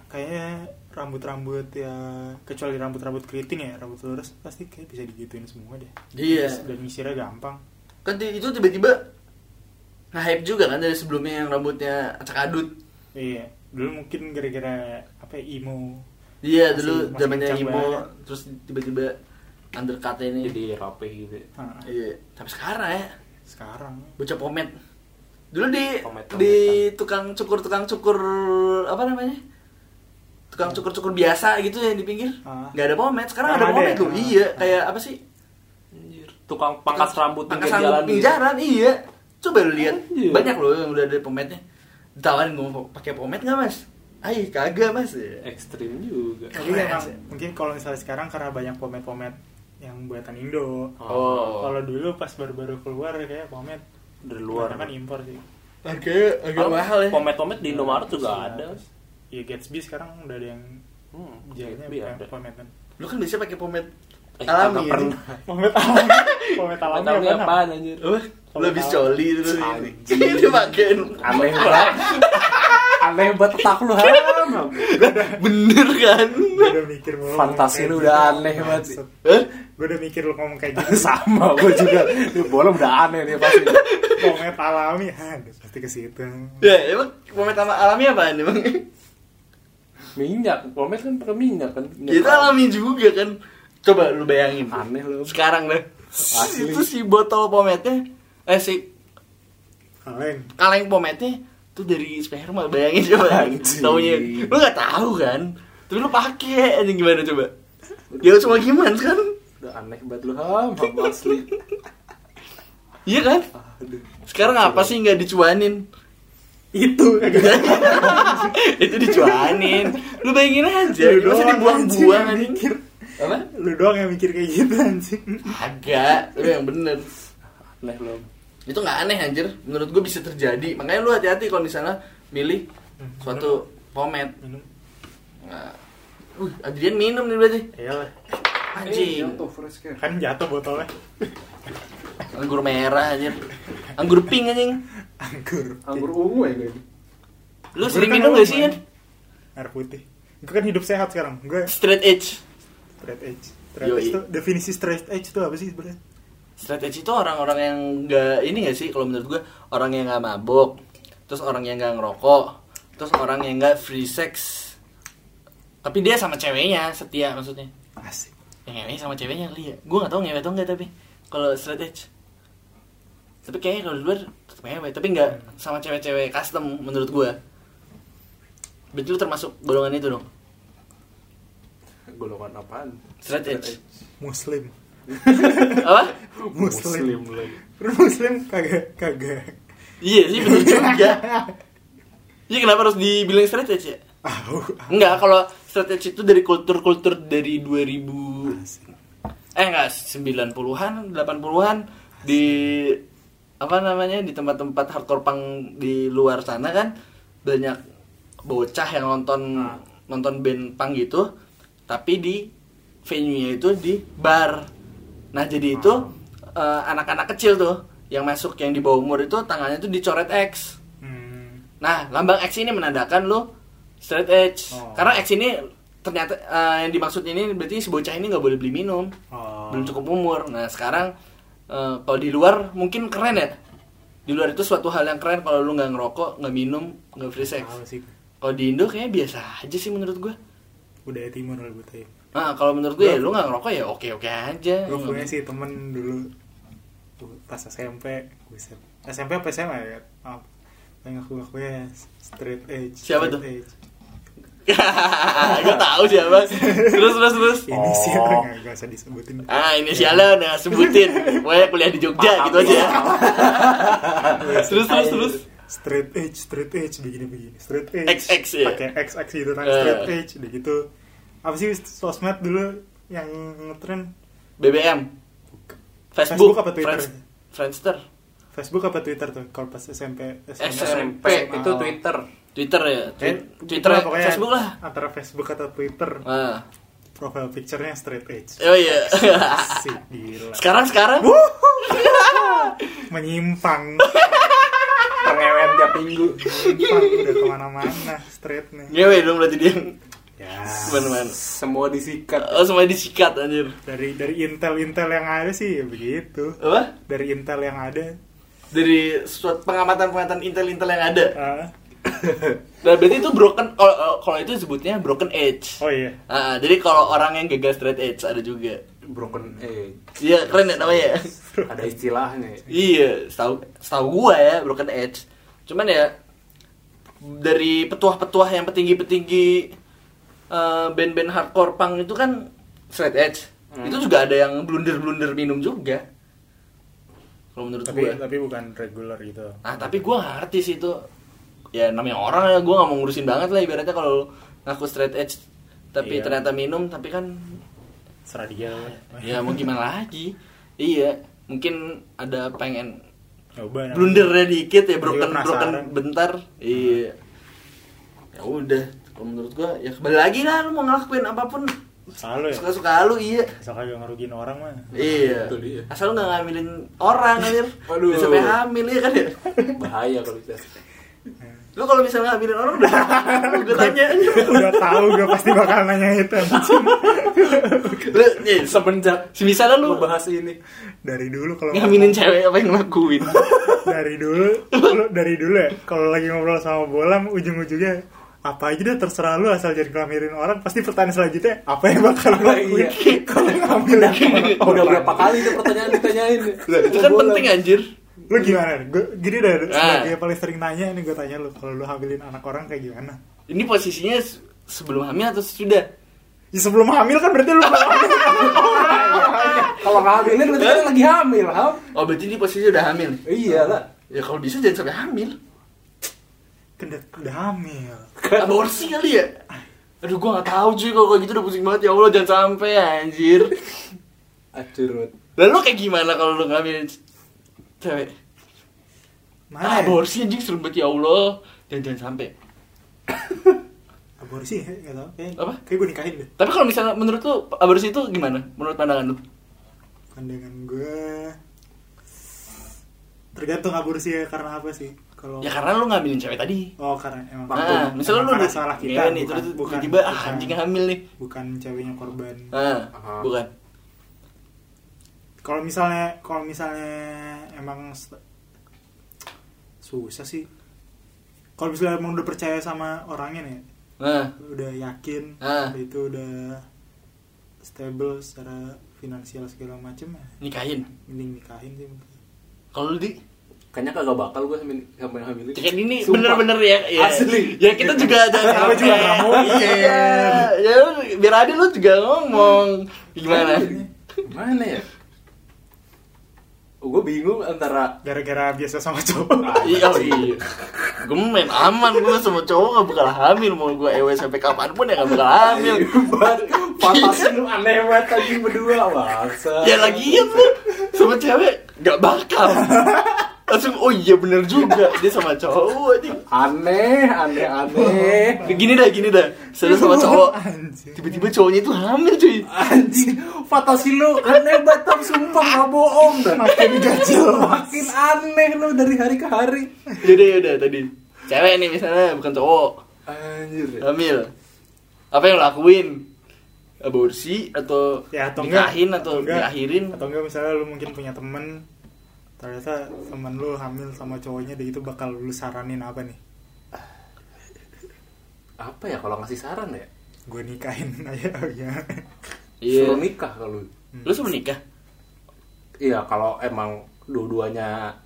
C: kayaknya rambut-rambut ya kecuali rambut-rambut keriting ya rambut lurus pasti kayak bisa digituin semua deh
A: Iya.
C: Terus dan nyisirnya gampang
A: Kan di- itu tiba-tiba nge-hype juga kan dari sebelumnya yang rambutnya acak adut.
C: iya dulu mungkin gara-gara apa ya, emo
A: Iya,
C: Masih-
A: dulu
C: masih
A: zamannya
C: kencang
A: emo
C: banget.
A: terus tiba-tiba undercut ini.
B: Jadi rapih gitu.
C: Nah,
A: Iya. Tapi sekarang ya
C: sekarang
A: bocah pomet. Dulu di
B: Pomet-pometan.
A: di tukang cukur-tukang cukur apa namanya? Tukang cukur-cukur biasa gitu yang di pinggir.
C: Ah.
A: nggak ada pomet. Sekarang ada
C: Sekarang ada
A: pomet
C: ya?
A: loh.
C: Ah.
A: Iya, kayak apa sih?
B: Anjir. Tukang pangkas rambut
A: Pangkas
B: pinggir
A: rambut
B: jalan.
A: pinggir
B: gitu.
A: jalan, iya. Coba lu lihat.
B: Anjir.
A: Banyak loh yang udah ada pometnya. Ditawarin ngomong pakai pomet nggak Mas? Ay, kagak Mas.
B: Ekstrim juga.
C: Tapi
A: Keren
C: emang
A: sih.
C: Iya, mungkin kalau misalnya sekarang karena banyak pomet-pomet yang buatan Indo.
A: Oh.
C: Kalau dulu pas baru-baru keluar kayak pomet
B: dari luar.
C: kan impor sih.
A: Harganya agak
B: Kalau
A: mahal ya.
B: Pomet-pomet di Indomaret juga ada.
C: 900. Iya Gatsby sekarang udah ada yang
B: Hmm,
C: jahitnya
B: Gatsby
C: bukan
B: ada.
C: pometan.
A: Lu kan biasanya pakai pomet
B: Eh,
A: alami.
B: kagak
A: ya?
B: pernah.
C: Pomet alami. pomet alami
B: Tahu
C: apaan?
B: apaan anjir?
A: Apa? Lu habis coli terus ini.
B: Anjing.
A: Jadi dipakein.
B: Aneh banget. Aneh banget tak lu haram.
A: Bener kan?
C: Gua udah mikir mulu ngomong
B: Fantasi
C: kayak
B: lu
C: gitu.
B: udah aneh banget.
C: Maksud,
A: Hah?
C: Gua udah mikir lu ngomong kayak gitu.
B: Sama gue juga. Ini bola udah aneh nih pasti.
C: pomet alami. Ha, pasti ke situ.
A: Ya,
B: Iya.
A: emang pomet sama alami apaan emang?
B: Minyak, pomet kan pakai minyak kan. Minyak
A: Itu
B: alami.
A: alami juga kan. Coba lu bayangin.
B: Aneh lu.
A: Sekarang deh.
B: Asli.
A: Itu si botol pometnya eh si
C: Kaleng.
A: kaleng pometnya tuh dari sperma bayangin coba
B: Anjing.
A: taunya lu nggak tahu kan tapi lu pakai anjing gimana coba ya cuma gimana kan
B: Udah aneh banget lu ham, ham asli.
A: iya kan
B: Aduh.
A: sekarang apa sih nggak dicuanin
C: Itu kagak
A: itu dicuanin lu bayangin aja
C: Lu
A: masa
C: doang
A: dibuang-buang
C: anjing yang
A: anjing
C: mikir.
A: apa
C: lu doang yang mikir kayak gitu anjing
A: agak lu yang bener
B: Aneh lu. Ham.
A: itu nggak aneh anjir menurut gue bisa terjadi makanya lu hati-hati kalau misalnya milih suatu pomet
C: Hmm, minum
A: nah, uh Adrian minum nih berarti
C: iyalah
A: anjing
B: Eh,
C: kan jatuh botolnya
A: anggur merah anjir anggur pink anjing
C: anggur
D: Anggur ungu ya kayaknya.
A: lu
C: Anggur
A: sering
C: kan
A: minum
C: emang
A: gak sih Yan?
C: air putih gue kan hidup sehat sekarang gue
A: straight edge
C: straight edge straight
A: Yoi.
C: edge tuh definisi straight edge tuh apa sih sebenarnya
A: straight edge itu orang-orang yang nggak ini gak sih kalau menurut gue orang yang nggak mabuk terus orang yang nggak ngerokok terus orang yang nggak free sex tapi dia sama ceweknya setia maksudnya
C: asik
A: yang ngewe sama ceweknya kali ya gue nggak tahu ngewe atau nggak tapi kalau straight edge tapi kayaknya kalau di luar tetap ngewe tapi nggak sama cewek-cewek custom menurut gue berarti lu termasuk golongan itu dong
B: Golongan apaan?
A: straight edge
C: muslim
A: apa
C: muslim
B: lagi.
C: muslim kagak kagak
A: Iya sih bener juga. Iya kenapa harus dibilang straight edge ya?
C: au
A: Enggak, kalau straight edge itu dari kultur-kultur dari 2000
C: asik
A: eh enggak 90-an, 80-an di apa namanya di tempat-tempat hardcore punk di luar sana kan banyak bocah yang nonton nonton band punk gitu tapi di venue-nya itu di bar. Nah, jadi itu eh, anak-anak kecil tuh yang masuk yang di bawah umur itu tangannya tuh dicoret X.
C: hmm.
A: Nah, lambang X ini menandakan lo straight edge.
C: Oh.
A: Karena X ini ternyata eh, yang dimaksud ini berarti si bocah ini nggak boleh beli minum,
C: oh.
A: belum cukup umur. Nah, sekarang eh, kalau di luar mungkin keren ya. Di luar itu suatu hal yang keren kalau lu nggak ngerokok, nggak minum, nggak free sex.
C: tahu sih
A: Kalau di Indo kayaknya biasa aja sih menurut gue.
C: budaya timur lah budaya
A: Nah, kalau menurut gue ya lu
C: Gua-
A: nggak ngerokok ya oke oke aja.
C: gue
A: Lu
C: punya
A: nggak-
C: sih temen dulu Tuh, pas SMP gue SMP apa SMA ya maaf yang aku aku ya straight edge
A: Siapa tuh?
C: straight edge.
A: gue tahu siapa. Terus terus terus.
C: ini sih
B: Oh.
C: nggak nggak usah disebutin
A: Ah inisialnya udah sebutin. Pokoknya kuliah di Jogja
B: Paham,
A: gitu aja. ya. terus
B: Ayo.
A: terus terus.
C: straight edge straight edge begini begini straight edge
A: XX, ya?
C: pakai x x gitu kan
A: Eh.
C: straight edge udah gitu apa sih sosmed dulu yang ngetren
A: BBM,
C: Facebook
A: Facebook,
C: apa Twitter?
A: Friends- Friendster,
C: Facebook apa Twitter tuh kalau pas SMP
A: SMP.
B: itu Twitter
A: Twitter ya.
C: Eh,
A: Twi- Twitter,
C: pokoknya
A: Facebook lah.
C: antara Facebook atau Twitter
A: Ah.
C: profile picture-nya straight edge
A: Oh iya.
C: sih gila
A: sekarang sekarang.
C: menyimpang
B: pengewen tiap minggu
C: menyimpang udah kemana-mana straight nih
A: Ngewe dong berarti dia.
C: ya
A: Teman-teman.
B: semua disikat
A: Oh semua disikat anjir.
C: dari dari intel intel yang ada sih ya begitu
A: Apa?
C: dari intel yang ada
A: Dari suatu pengamatan-pengamatan intel-intel yang ada.
C: ah,
A: Nah, berarti itu broken oh, oh, kalau itu sebutnya broken edge.
C: oh iya
A: Ah, jadi kalau orang yang gagal straight edge ada juga.
B: broken edge
A: Iya, keren ya namanya. ya?
B: ada istilahnya
A: iya, setahu setahu gua ya broken edge. Cuman ya dari petuah-petuah yang petinggi-petinggi eh, band-band hardcore punk itu kan straight edge.
B: Hmm.
A: Itu juga ada yang blunder-blunder minum juga. Kalau menurut
C: tapi
A: gua.
C: tapi bukan regular gitu
A: Ah tapi gue gak ngerti sih itu Ya namanya orang ya gue gak mau ngurusin banget lah ibaratnya kalau ngaku straight edge Tapi
C: Iya.
A: ternyata minum tapi kan
C: serah dia lah.
A: ya mau gimana lagi Iya mungkin ada pengen
C: coba namanya.
A: blundernya dikit ya
C: Juga
A: broken broken
C: penasaran.
A: bentar Iya Ya udah kalau menurut gue ya kembali lagi lah lu mau ngelakuin apapun
C: selalu ya
A: Suka-suka lu iya
C: asal kagak ngerugiin orang mah
A: Iya
B: Itu dia.
A: Asal lu gak ngambilin orang anjir
B: Waduh.
A: Udah sampai hamil iya kan ya
B: bahaya kalau bisa
A: Lu kalau misalnya ngambilin orang udah Gue tanya
C: udah tahu gue pasti bakal nanya itu anjing.
A: lu nih se-
B: semenjak
A: semisal lu
B: lu bahas ini
C: dari dulu kalau
A: ngaminin cewek apa yang ngelakuin
C: dari dulu lu dari dulu ya kalau lagi ngobrol sama bolam ujung-ujungnya apa aja deh terserah lu asal jadi ngelamirin orang pasti pertanyaan selanjutnya apa yang bakal lu
B: Apa
C: lakuin
B: iya?
C: kalau ngambil orang?
B: udah berapa kali tuh pertanyaan ditanyain
A: itu kan penting anjir
C: lu gimana gue gini deh
A: Ah.
C: sebagai yang paling sering nanya nih gue tanya lu kalau lu hamilin anak orang kayak gimana
A: ini posisinya se- sebelum hamil atau sudah
C: ya, sebelum hamil kan berarti lu belum hamil.
B: kalau hamilin berarti kan lagi hamil ham
A: oh berarti ini posisinya udah hamil
B: iya lah
A: ya kalau bisa jangan sampai hamil
C: kan udah, udah hamil
A: aborsi kali ya aduh gua nggak tahu cuy kalau kayak gitu udah pusing banget ya allah jangan sampai anjir
B: acurut
A: lalu kayak gimana kalau lu ngambilin c- cewek
C: mana ya?
A: aborsi anjing serem banget ya allah jangan jangan sampai
C: aborsi ya nggak tau kayak
A: Apa?
C: kayak gue nikahin deh
A: tapi kalau misalnya menurut lu aborsi itu gimana menurut pandangan lu
C: pandangan gue tergantung aborsi ya karena apa sih kalau
A: ya karena lu ngambilin cewek tadi
C: Oh karena emang
A: Ah, misalnya lu
C: Oh. emang karena
A: udah-
C: salah kita
A: ngewe nih,
C: bukan,
A: terus
C: bukan,
A: tiba-tiba ah,
C: bukan,
A: anjing hamil nih.
C: bukan ceweknya korban.
A: Ah,
B: Aha.
A: bukan.
C: Kalau misalnya kalau misalnya emang st- susah sih. Kalau misalnya emang udah percaya sama orangnya nih,
A: Nah,
C: udah yakin
A: Ah.
C: itu udah stable secara finansial segala macem ya,
A: nikahin.
C: mending nikahin sih. mungkin.
A: Kalau lu di
B: kayaknya kagak bakal gue sampai sampai hamilin
A: kayak gini
B: Sumpah.
A: bener-bener ya, ya.
B: Asli.
A: Ya kita juga jangan
C: Kenapa juga nggak mau?
A: Iya. Ya lu- biar adil lu juga ngomong. Gimana?
B: Mana ya? gue bingung antara
C: Gara-gara biasa sama cowok.
A: Iya, iya. Gue main aman gue sama cowok gak bakal hamil mau gue ewe sampai kapanpun ya gak bakal hamil.
B: Buat fantasi lu aneh banget tadi berdua bangsa.
A: Ya lagian lu sama cewek gak bakal. Langsung oh iya bener juga dia sama cowok anjing.
B: Aneh, aneh, aneh.
A: Gini dah, gini dah. Serius sama cowok.
C: Anjing.
A: Tiba-tiba cowoknya itu hamil cuy.
B: Anjing, fantasi lu aneh banget Tam. sumpah gak bohong dah.
C: Makin gak jelas.
B: Makin aneh lu dari hari ke hari.
A: Yaudah, yaudah tadi. Cewek nih misalnya, bukan cowok.
B: Anjir.
A: Hamil. Apa yang lo lakuin? Aborsi atau
C: ya atau enggak
A: nikahin atau
C: enggak,
A: diakhirin?
C: atau enggak misalnya lu mungkin punya temen ternyata temen lu hamil sama cowoknya dia itu bakal lu saranin apa nih
B: apa ya kalau ngasih saran ya
C: gue nikahin aja oh ya
B: suruh nikah kalau
A: Iya. Lu sebelum nikah?
B: iya kalau emang dua-duanya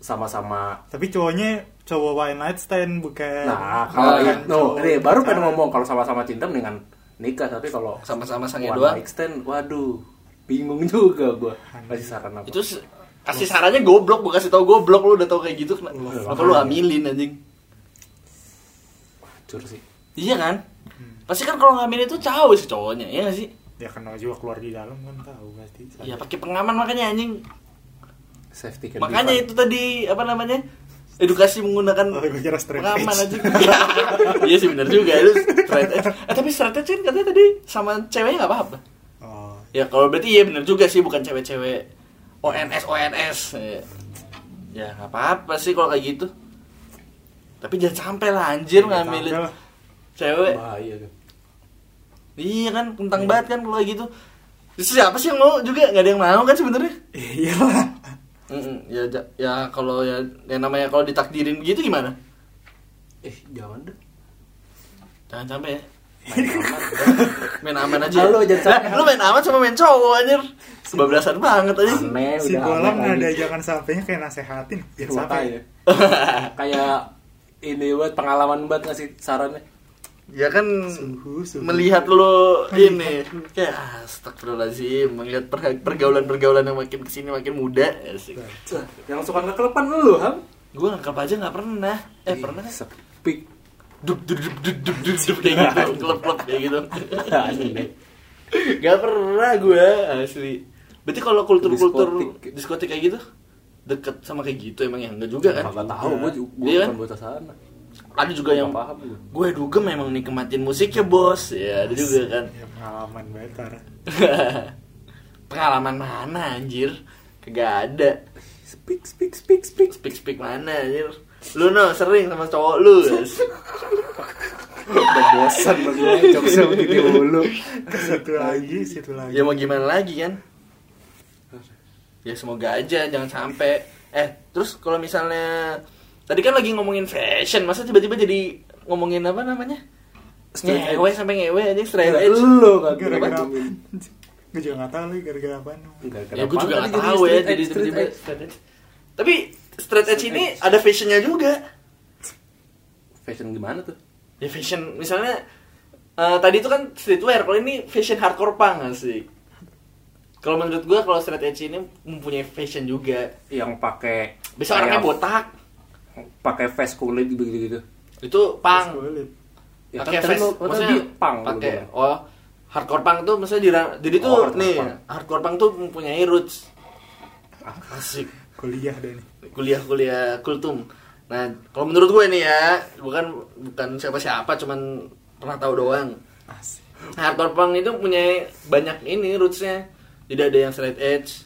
B: sama-sama
C: tapi cowoknya cowok one night stand bukan
B: nah kalau
A: Nah,
B: itu nih, baru pengen ngomong kalau sama-sama cinta mendingan nikah tapi kalau
A: Sama-sama sange
B: one
A: doang.
B: night stand waduh bingung juga gua kasih saran apa
A: Itu se- kasih sarannya goblok, gue kasih tau goblok lu udah tau kayak gitu. kena- Kenapa lu hamilin anjing?
B: Cur sih
A: Iya kan?
C: Hmm.
A: Pasti kan kalau ngambil itu cowok sih cowoknya, ya gak sih?
C: ya kenal juga keluar di dalam kan tahu pasti
A: Ya pakai pengaman makanya anjing.
B: safety can be
A: Makanya
B: fun.
A: itu tadi apa namanya? Edukasi menggunakan
C: Oh, gue kira straight
A: pengaman
C: edge.
A: anjing. Iya. iya sih benar juga lu straight edge. Eh tapi straight edge kan katanya tadi sama ceweknya nggak apa-apa.
C: oh
A: Ya kalau berarti iya benar juga sih bukan cewek-cewek ONS ONS. Ya. Ya nggak apa-apa sih kalau kayak gitu. Tapi jangan Iya, sampai lah anjir
C: Jangan sampai
A: ngambilin
C: lah.
A: cewek.
B: bahaya tuh.
A: Iya kan, kentang banget kan kalau kayak gitu. Terus siapa sih yang mau juga? Gak ada yang mau kan sebenarnya?
C: iya lah
A: Mm-mm. Ya, ja- ya kalau ya, yang namanya kalau ditakdirin gitu gimana?
B: eh jangan deh
A: Jangan sampai ya.
B: main aman
A: Main aman aja. ya.
B: Halo, jangan sampai.
A: Lu main aman sama main cowok anjir. Sebablasan banget aja.
B: aneh
C: si
B: Ya, udah
C: bolang
B: aneh
C: ada
B: lagi.
C: jangan sampainya kayak nasehatin ya
B: Gua
C: sampai
B: tanya. kayak ini buat pengalaman buat ngasih sarannya
A: Ya kan
C: Suhu, suhu.
A: melihat lu ini kayak astagfirullahalazim melihat perga- pergaulan-pergaulan yang makin kesini makin muda asik.
B: Nah. yang suka ngekelepan lu ham
A: Gue nangkap aja nggak pernah. Eh pernah kan?
B: sepik
A: Dup dup dup dup dup dup, dup, kayak gitu, klep-klep kayak gitu.
B: aneh
A: Gak pernah gue asli. Berarti kalau kultur-kultur
B: Diskotik.
A: diskotik. kayak gitu deket sama kayak gitu emang ya enggak juga kan?
B: Gak tahu, gue juga gua
A: Iya kan?
B: bukan bocah sana.
A: Ada juga yang
B: Nggak paham gua.
A: gue duga memang nikmatin musiknya bos ya ada juga kan
C: ya pengalaman banget parah
A: pengalaman mana anjir kagak ada
B: Speak, speak, speak, speak.
A: speak speak mana anjir lu no sering sama cowok lu guys.
B: Udah bosan lah gue jokesnya begini mulu.
C: Ke situ lagi situ lagi
A: ya mau gimana lagi kan ya semoga aja jangan sampai eh terus kalau misalnya tadi kan lagi ngomongin fashion masa tiba-tiba jadi ngomongin apa namanya
B: Straight edge.
A: ngewe sampai ngewe aja straight
B: Gara-gara
A: edge
B: lu kan
C: gara-gara apa gue juga nggak tahu lagi gara-gara apa
A: ya gue juga gak tahu ya jadi tiba-tiba straight edge. tapi straight edge
B: Straight
A: ini ada fashionnya juga
B: Fashion gimana tuh?
A: ya fashion misalnya eh, tadi itu kan streetwear kalau ini fashion hardcore punk sih kalau menurut gue kalau straight edge ini mempunyai fashion juga
B: Yang pakai
A: bisa orangnya
B: kayak
A: botak
B: Pakai face kulit gitu-gitu.
A: itu punk
C: sulit
B: Ya
A: pakai
B: kan tadi
A: face
B: lu- lu tadi punk lu
A: pakai
B: bilang.
A: oh hardcore punk tuh maksudnya di ra- jadi tuh
B: Oh, hardcore
A: nih
B: punk.
A: hardcore punk tuh mempunyai roots asik
C: kuliah deh nih
A: kuliah-kuliah kultum nah kalau menurut gue nih ya bukan bukan siapa-siapa cuman pernah tahu doang
C: asik
A: hardcore punk itu punya banyak ini rootsnya tidak ada yang straight edge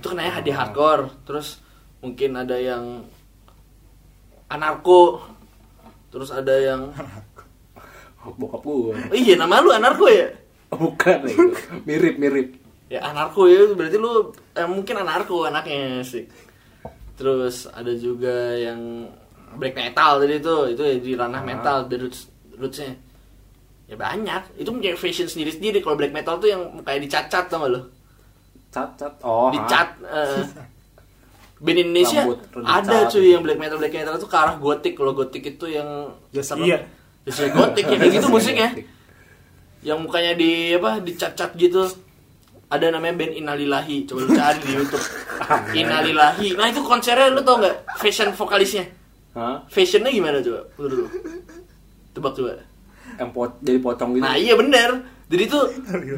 A: itu kenanya hadiah hardcore terus mungkin ada yang anarko terus ada yang
B: Bokap gue.
A: Oh iya nama lu anarko ya?
B: Bukan ya. itu. Mirip-mirip.
A: Ya anarko ya berarti lu eh, mungkin anarko anaknya sih. Terus ada juga yang black metal tadi itu itu ya di ranah
B: Ah.
A: metal di roots rootsnya. Ya banyak. Itu punya fashion sendiri sendiri. Kalau black metal tuh yang kayak dicacat tau gak lu?
B: Cacat. Oh.
A: Dicat. eh, band Indonesia
B: Rambut
A: ada
B: dicat.
A: cuy yang black metal black metal tuh ke arah gotik. Kalau gotik itu yang
C: Yes,
A: serem.
C: iya.
A: Yes, iya, gotik ya kayak gitu musiknya.
B: Gotik.
A: yang mukanya di apa dicat-cat gitu ada namanya band Inalilahi coba lu cari di YouTube Inalilahi nah itu konsernya lu tau nggak fashion vokalisnya
B: Hah?
A: fashionnya gimana coba menurut lu tebak coba
B: Yang po- jadi pocong gitu.
A: nah iya bener jadi tuh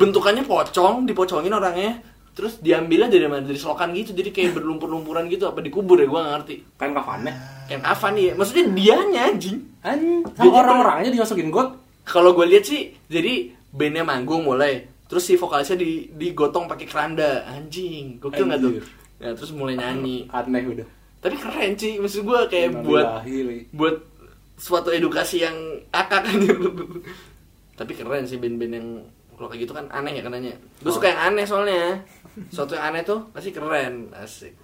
A: bentukannya pocong dipocongin orangnya terus diambilnya dari mana dari selokan gitu jadi kayak berlumpur-lumpuran gitu apa dikubur ya gua nggak ngerti
B: Kan kafannya.
A: kayak kafan iya maksudnya dianya anjing
B: An,
A: Jadi
B: orang-orangnya dimasukin got.
A: kalau gue lihat sih jadi bandnya manggung mulai terus si vokalisnya di digotong pakai keranda anjing gokil nggak tuh
B: Anjir.
A: ya terus mulai nyanyi
B: Aneh udah.
A: tapi keren sih maksud gue kayak buat buat suatu edukasi yang akak anjir. tapi keren sih band-band yang kalau kayak gitu kan aneh ya kenanya gue suka yang aneh soalnya suatu yang aneh tuh pasti keren asik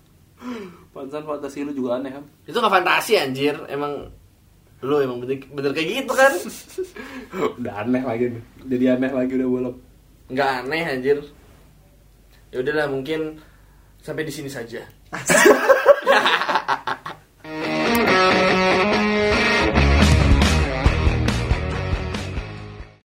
B: Pantesan fantasi lu juga aneh kan?
A: itu nggak fantasi anjir emang Lu emang bener, bener kayak gitu kan?
B: Oh, udah aneh lagi nih jadi aneh lagi udah bolong
A: Nggak aneh anjir. Ya udahlah mungkin sampai di sini saja.